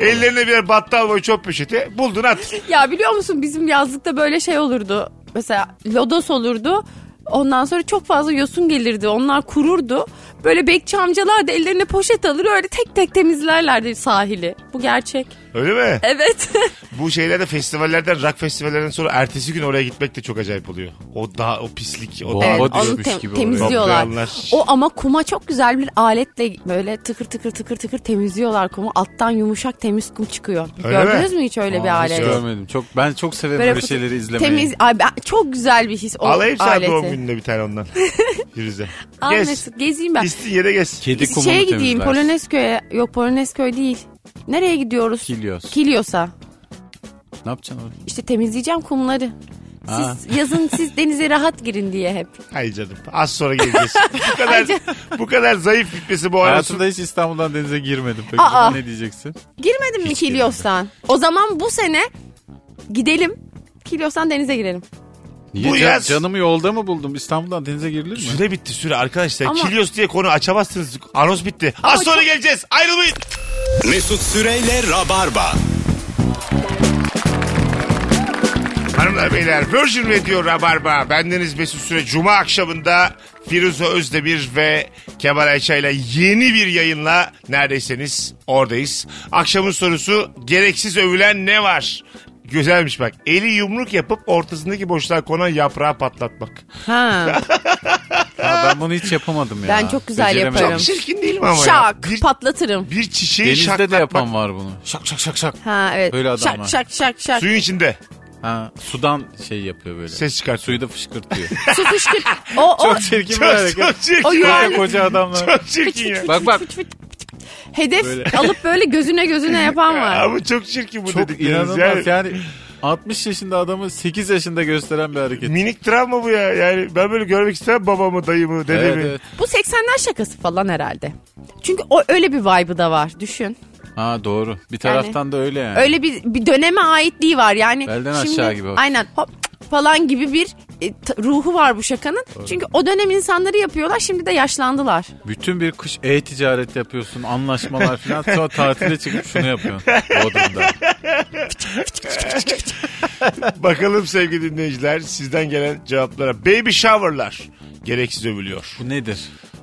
Speaker 2: Ellerine birer battal boy çöp poşeti buldun at.
Speaker 3: ya biliyor musun bizim yazlıkta böyle şey olurdu. Mesela lodos olurdu. Ondan sonra çok fazla yosun gelirdi. Onlar kururdu. Böyle bekçi amcalar da ellerine poşet alır öyle tek tek temizlerlerdi sahili. Bu gerçek.
Speaker 2: Öyle mi?
Speaker 3: Evet.
Speaker 2: Bu şeylerde festivallerden rock festivallerinden sonra ertesi gün oraya gitmek de çok acayip oluyor. O daha o pislik. O
Speaker 4: Bomba
Speaker 2: daha-
Speaker 4: Evet,
Speaker 3: onu
Speaker 4: düşmüş
Speaker 3: tem-
Speaker 4: gibi oraya.
Speaker 3: temizliyorlar.
Speaker 2: Toplayanlar.
Speaker 3: O ama kuma çok güzel bir aletle böyle tıkır tıkır tıkır tıkır temizliyorlar kumu. Alttan yumuşak temiz kum çıkıyor.
Speaker 2: Öyle
Speaker 3: Gördünüz mü hiç öyle bir
Speaker 4: Aa, hiç
Speaker 3: alet?
Speaker 4: görmedim. Çok, ben çok severim böyle,
Speaker 3: fıs-
Speaker 4: şeyleri izlemeyi.
Speaker 3: Temiz, Ay, ben- çok güzel bir his o
Speaker 2: Alayım sana
Speaker 3: aleti.
Speaker 2: doğum gününde bir tane ondan. Firuze.
Speaker 3: Al
Speaker 2: Gez.
Speaker 3: Mesut, gezeyim ben.
Speaker 2: İstin yere gez.
Speaker 4: Kedi kumunu
Speaker 3: Şeye gideyim
Speaker 4: temizler.
Speaker 3: Polonezköy'e. Yok Polonezköy değil. Nereye gidiyoruz?
Speaker 4: Kilyos.
Speaker 3: Kilyos'a.
Speaker 4: Ne yapacaksın orada?
Speaker 3: İşte temizleyeceğim kumları. Siz
Speaker 4: Ha.
Speaker 3: yazın siz denize rahat girin diye hep.
Speaker 2: Ay canım. Az sonra geleceğiz. bu kadar bu kadar zayıf gitmesi bu arada.
Speaker 4: Hayatımda hiç İstanbul'dan denize girmedim. Peki
Speaker 3: Aa.
Speaker 4: ne diyeceksin?
Speaker 3: Girmedim mi
Speaker 4: Hiç
Speaker 3: Kilyos'tan? O zaman bu sene gidelim. Kilyos'tan denize girelim.
Speaker 4: Niye?
Speaker 2: Bu
Speaker 4: Can-
Speaker 2: yaz-
Speaker 4: Canımı yolda mı buldum? İstanbul'dan denize girilir mi?
Speaker 2: Süre bitti süre arkadaşlar.
Speaker 3: Ama-
Speaker 2: Kilios diye konu açamazsınız. Anons bitti. Az
Speaker 3: Ama
Speaker 2: sonra
Speaker 3: çok-
Speaker 2: geleceğiz. Ayrılmayın.
Speaker 1: Mesut Süreyle Rabarba.
Speaker 2: Hanımlar beyler Virgin Radio Rabarba. Bendeniz Mesut Süre. Cuma akşamında Firuze Özdemir ve Kemal Ayça ile yeni bir yayınla neredeyseniz oradayız. Akşamın sorusu gereksiz övülen ne var? Güzelmiş bak. Eli yumruk yapıp ortasındaki boşluğa konan yaprağı patlatmak.
Speaker 3: Ha.
Speaker 4: Ya ben bunu hiç yapamadım ya.
Speaker 3: Ben çok güzel
Speaker 4: Beceremedim.
Speaker 3: yaparım.
Speaker 2: Çok çirkin değil mi ama
Speaker 3: Şak
Speaker 2: ya? Bir,
Speaker 3: patlatırım.
Speaker 2: bir çiçeği
Speaker 4: Denizde de
Speaker 2: şaklatmak.
Speaker 4: yapan var bunu. Şak şak şak şak.
Speaker 3: Ha evet.
Speaker 4: Öyle adam var.
Speaker 3: şak, şak şak şak
Speaker 2: Suyun içinde.
Speaker 4: Ha, sudan şey yapıyor böyle.
Speaker 2: Ses çıkart.
Speaker 4: Suyu da fışkırtıyor.
Speaker 3: Su fışkır. O o
Speaker 4: çok çirkin bir
Speaker 2: Çok,
Speaker 4: hareket.
Speaker 2: çok çirkin.
Speaker 3: O yuvarlak-
Speaker 4: Böyle koca adamlar.
Speaker 2: Çok
Speaker 3: fıç,
Speaker 2: çirkin
Speaker 3: fıç,
Speaker 2: ya.
Speaker 3: fıç,
Speaker 4: Bak,
Speaker 3: fıç,
Speaker 4: bak.
Speaker 3: fıç, fıç, fıç. Hedef
Speaker 4: Böyle.
Speaker 3: alıp böyle gözüne gözüne yapan var.
Speaker 2: Ama çok çirkin bu
Speaker 4: Çok
Speaker 2: dedikleriniz.
Speaker 4: inanılmaz
Speaker 2: Yani
Speaker 4: yani. 60 yaşında adamı 8 yaşında gösteren bir hareket.
Speaker 2: Minik travma bu ya. Yani ben böyle görmek istemem babamı, dayımı, dedemi.
Speaker 4: Evet, evet.
Speaker 3: Bu 80'ler şakası falan herhalde. Çünkü o öyle bir vibe'ı da var düşün.
Speaker 4: Ha doğru. Bir taraftan da öyle yani.
Speaker 3: Öyle bir, bir döneme aitliği var yani.
Speaker 4: Belden aşağı gibi.
Speaker 3: Aynen hop falan gibi bir e, t- ruhu var bu şakanın. Çünkü o dönem insanları yapıyorlar şimdi de yaşlandılar.
Speaker 4: Bütün bir kış e-ticaret yapıyorsun, anlaşmalar falan. Sonra tatile çıkıp şunu yapıyorsun. Bodrum'da.
Speaker 2: Bakalım sevgili dinleyiciler sizden gelen cevaplara. Baby shower'lar gereksiz övülüyor.
Speaker 4: Bu nedir?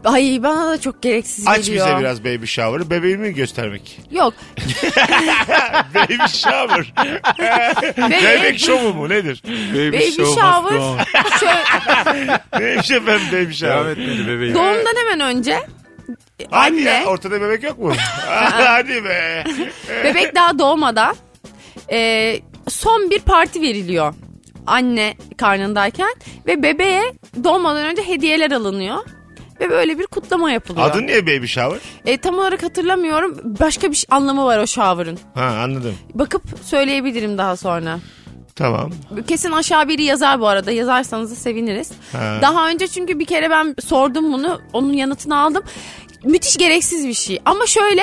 Speaker 3: Ay bana da çok gereksiz
Speaker 2: Aç
Speaker 3: geliyor.
Speaker 2: bize biraz baby shower'ı. Bebeğimi göstermek.
Speaker 3: Yok.
Speaker 2: baby shower. Bebek şovu mu nedir?
Speaker 4: Baby,
Speaker 3: Baby shower. Şöyle,
Speaker 2: Neymiş efendim baby
Speaker 4: Devam
Speaker 2: shower?
Speaker 4: etmedi bebeğim.
Speaker 3: doğumdan hemen önce
Speaker 2: Hadi ya,
Speaker 3: Anne.
Speaker 2: ortada bebek yok mu? Hadi be.
Speaker 3: Bebek daha doğmadan e, son bir parti veriliyor anne karnındayken ve bebeğe doğmadan önce hediyeler alınıyor ve böyle bir kutlama yapılıyor.
Speaker 2: Adı niye baby shower?
Speaker 3: E, tam olarak hatırlamıyorum. Başka bir şey- anlamı var o shower'ın.
Speaker 2: Ha anladım.
Speaker 3: Bakıp söyleyebilirim daha sonra.
Speaker 2: Tamam.
Speaker 3: Kesin aşağı biri yazar bu arada. Yazarsanız da seviniriz.
Speaker 2: Ha.
Speaker 3: Daha önce çünkü bir kere ben sordum bunu. Onun yanıtını aldım. Müthiş gereksiz bir şey. Ama şöyle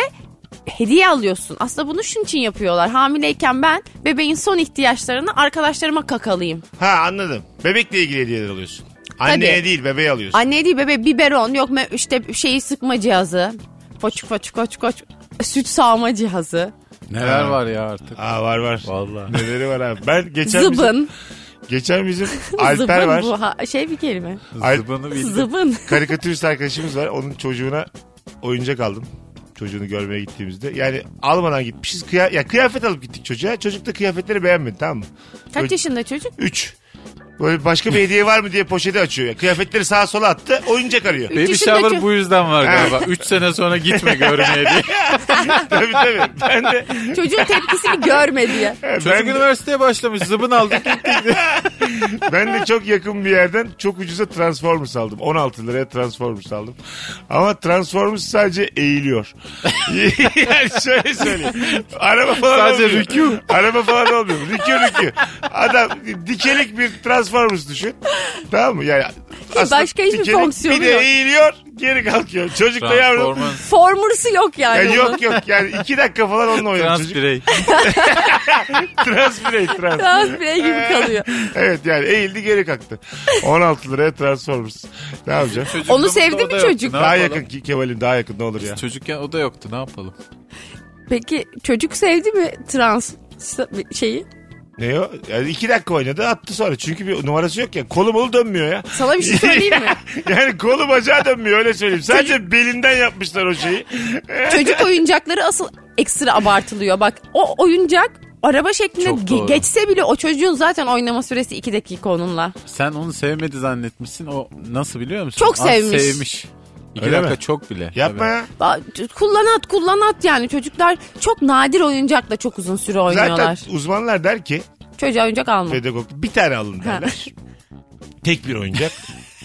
Speaker 3: hediye alıyorsun. Aslında bunu şunun için yapıyorlar. Hamileyken ben bebeğin son ihtiyaçlarını arkadaşlarıma kakalayayım.
Speaker 2: Ha anladım. Bebekle ilgili hediyeler alıyorsun. Anneye
Speaker 3: Tabii.
Speaker 2: değil bebeğe alıyorsun.
Speaker 3: Anne değil bebe biberon yok me- işte şeyi sıkma cihazı. Foçuk foçuk foçuk foçuk. Süt sağma cihazı.
Speaker 4: Neler var ya artık.
Speaker 2: Aa var var.
Speaker 4: Vallahi.
Speaker 2: Neleri var abi? Ben geçen bizim,
Speaker 3: Zıbın.
Speaker 2: geçen bizim Alper
Speaker 3: Zıbın
Speaker 2: var.
Speaker 3: bu ha- şey bir kelime.
Speaker 2: Ay-
Speaker 4: Zıbını bildim.
Speaker 3: Zıbın.
Speaker 2: Karikatürist arkadaşımız var. Onun çocuğuna oyuncak aldım. Çocuğunu görmeye gittiğimizde. Yani almadan gitmişiz. Kıya ya kıyafet alıp gittik çocuğa. Çocuk da kıyafetleri beğenmedi tamam mı?
Speaker 3: Kaç
Speaker 2: Böyle-
Speaker 3: yaşında çocuk?
Speaker 2: Üç. Böyle başka bir hediye var mı diye poşeti açıyor. Ya. Kıyafetleri sağa sola attı. Oyuncak arıyor.
Speaker 4: Baby
Speaker 3: yaşındaki-
Speaker 4: shower bu yüzden var galiba. 3 sene sonra gitme görmeye diye.
Speaker 2: tabii tabii. Ben de,
Speaker 3: Çocuğun tepkisini görme diye.
Speaker 4: Çocuk üniversiteye başlamış. Zıbın aldık.
Speaker 2: ben de çok yakın bir yerden çok ucuza Transformers aldım. 16 liraya Transformers aldım. Ama Transformers sadece eğiliyor. yani şöyle söyleyeyim. Araba falan
Speaker 4: Sadece
Speaker 2: olmuyor.
Speaker 4: rükû.
Speaker 2: Araba falan olmuyor. Rükü rükü. Adam dikelik bir Transformers düşün. Tamam mı? Yani aslında
Speaker 3: Şey, başka hiçbir
Speaker 2: dikenin
Speaker 3: fonksiyonu
Speaker 2: Bir de
Speaker 3: yok.
Speaker 2: eğiliyor geri kalkıyor. Çocuk da yavrum.
Speaker 4: Transformers.
Speaker 3: Formursu yok yani.
Speaker 2: Yani
Speaker 3: onun.
Speaker 2: yok yok yani iki dakika falan onunla oynuyor
Speaker 4: Trans
Speaker 2: çocuk.
Speaker 4: birey.
Speaker 2: Trans birey trans.
Speaker 3: Trans birey gibi kalıyor.
Speaker 2: evet yani eğildi geri kalktı. 16 liraya Transformers. Ne yapacağım?
Speaker 3: Onu sevdi mi çocuk?
Speaker 2: daha yakın ki Kemal'im daha yakın ne olur ya.
Speaker 4: Çocukken o da yoktu ne yapalım?
Speaker 3: Peki çocuk sevdi mi trans şeyi?
Speaker 2: Ne o? Yani iki dakika oynadı attı sonra. Çünkü bir numarası yok ya. Kolu molu dönmüyor ya.
Speaker 3: Sana bir şey söyleyeyim mi?
Speaker 2: yani kolu bacağı dönmüyor öyle söyleyeyim. Sadece belinden yapmışlar o şeyi.
Speaker 3: Çocuk oyuncakları asıl ekstra abartılıyor. Bak o oyuncak araba şeklinde
Speaker 4: Çok
Speaker 3: ge-
Speaker 4: doğru.
Speaker 3: geçse bile o çocuğun zaten oynama süresi 2 dakika onunla.
Speaker 4: Sen onu sevmedi zannetmişsin. O nasıl biliyor musun?
Speaker 3: Çok
Speaker 4: Az
Speaker 3: sevmiş.
Speaker 4: sevmiş. İki
Speaker 2: Öyle
Speaker 4: dakika
Speaker 2: mi?
Speaker 4: çok bile.
Speaker 2: Yapma ya.
Speaker 3: Ba- Kullanat kullanat yani çocuklar çok nadir oyuncakla çok uzun süre oynuyorlar.
Speaker 2: Zaten uzmanlar der ki
Speaker 3: Çocuğa oyuncak alma.
Speaker 2: pedagog bir tane alın
Speaker 3: Ha.
Speaker 2: derler. Tek bir oyuncak.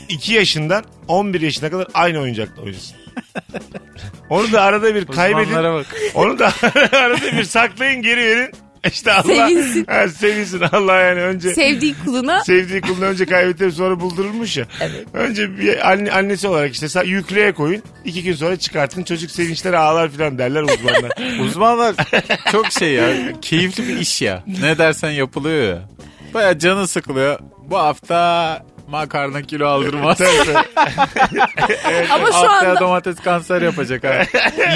Speaker 2: 2 yaşından 11 yaşına kadar aynı oyuncakla oynasın. Onu da arada bir kaybedin.
Speaker 4: Uzmanlara bak.
Speaker 2: Onu da arada bir saklayın geri verin. İşte Allah
Speaker 3: Sevinsin.
Speaker 2: Ha, sevinsin Allah yani önce.
Speaker 3: Sevdiği kuluna
Speaker 2: Sevdiği kulunu önce kaybettirip sonra buldurulmuş ya. Önce bir anne, annesi olarak işte sa- yüklüğe koyun. iki gün sonra çıkartın. Çocuk sevinçler ağlar falan derler uzmanlar.
Speaker 4: Uzmanlar çok şey ya. Keyifli bir iş ya. Ne dersen yapılıyor ya. Baya canı sıkılıyor. Bu hafta makarna kilo aldırmaz.
Speaker 3: ama şu
Speaker 4: Haftaya
Speaker 3: anda
Speaker 4: domates kanser yapacak ha.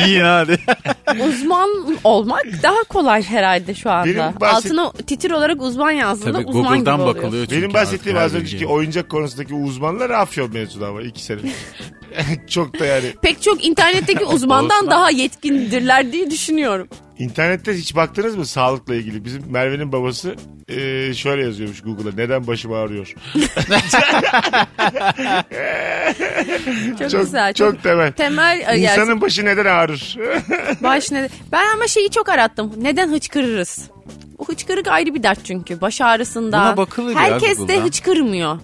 Speaker 4: Yiyin hadi.
Speaker 3: uzman olmak daha kolay herhalde şu anda.
Speaker 2: Benim bahset-
Speaker 3: Altına titir olarak uzman yazdığında
Speaker 4: Tabii
Speaker 3: uzman gibi
Speaker 4: Google'dan
Speaker 3: oluyor.
Speaker 4: bakılıyor çünkü.
Speaker 2: Benim bahsettiğim
Speaker 4: artık
Speaker 2: az
Speaker 4: her
Speaker 2: önceki
Speaker 4: bilgiye.
Speaker 2: oyuncak konusundaki uzmanlar afyon mevzuda ama iki sene. Çok da yani
Speaker 3: Pek çok internetteki uzmandan daha yetkindirler diye düşünüyorum.
Speaker 2: İnternette hiç baktınız mı sağlıkla ilgili? Bizim Merve'nin babası e, şöyle yazıyormuş Google'a. Neden başım ağrıyor?
Speaker 3: Çok,
Speaker 2: Çok,
Speaker 3: güzel.
Speaker 2: çok temel.
Speaker 3: temel e, yani
Speaker 2: İnsanın başı neden ağrır?
Speaker 3: baş ne- Ben ama şeyi çok arattım. Neden hıçkırırız? Bu hıçkırık ayrı bir dert çünkü. Baş ağrısında.
Speaker 4: Buna bakılır ya
Speaker 3: Herkes de
Speaker 4: Google'da.
Speaker 3: hıçkırmıyor.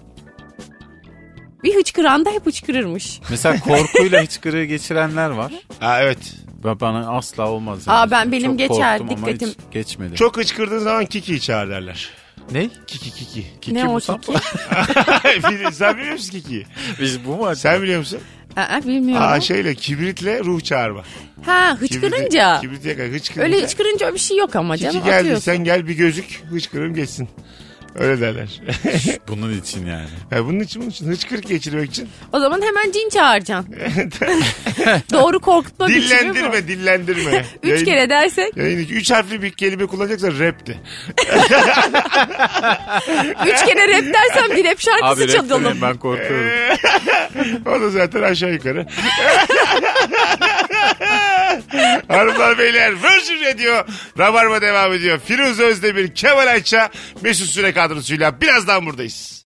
Speaker 3: Bir hıçkıran da hep hıçkırırmış.
Speaker 4: Mesela korkuyla hıçkırığı geçirenler var.
Speaker 2: ha, evet.
Speaker 4: Ve bana asla olmaz.
Speaker 3: Aa, ben- benim
Speaker 4: Çok
Speaker 3: geçer,
Speaker 4: korktum ama
Speaker 3: dikkatim.
Speaker 4: hiç geçmedi.
Speaker 2: Çok hıçkırdığın zaman Kiki'yi çağır derler.
Speaker 4: Ne?
Speaker 2: Kiki Kiki.
Speaker 4: Kiki
Speaker 3: ne
Speaker 4: bu
Speaker 3: o
Speaker 4: sap?
Speaker 3: kiki?
Speaker 2: Bil- Sen biliyor musun Kiki'yi?
Speaker 4: Biz bu mu?
Speaker 2: Sen biliyor musun?
Speaker 3: Aa, bilmiyorum.
Speaker 2: Aa şey- şeyle kibritle ruh çağırma.
Speaker 3: ha hıçkırınca.
Speaker 2: Kibrite- Kibrite yakar hıçkırınca.
Speaker 3: Öyle hıçkırınca öyle bir şey yok ama
Speaker 2: Kiki
Speaker 3: canım
Speaker 2: geldi
Speaker 3: atıyorsun.
Speaker 2: sen gel bir gözük hıçkırım geçsin. Öyle derler.
Speaker 4: Bunun için yani.
Speaker 2: ya bunun için bunun için hıçkırık geçirmek için.
Speaker 3: O zaman hemen cin çağıracaksın. Doğru korkutma biçimi bu.
Speaker 2: dillendirme dillendirme.
Speaker 3: Üç
Speaker 2: Yayın-
Speaker 3: kere dersek
Speaker 2: Yayın iki. Üç harfli bir kelime kullanacaksa rapti.
Speaker 3: Üç kere rap dersen bir rap şarkısı
Speaker 4: Abi rap
Speaker 3: çalalım.
Speaker 4: demeyin, ben korkuyorum.
Speaker 2: O da zaten aşağı yukarı. Hanımlar beyler Virgin Radio Rabarba devam ediyor. Firuze Özdemir, Kemal Ayça, Mesut Süre kadrosuyla birazdan buradayız.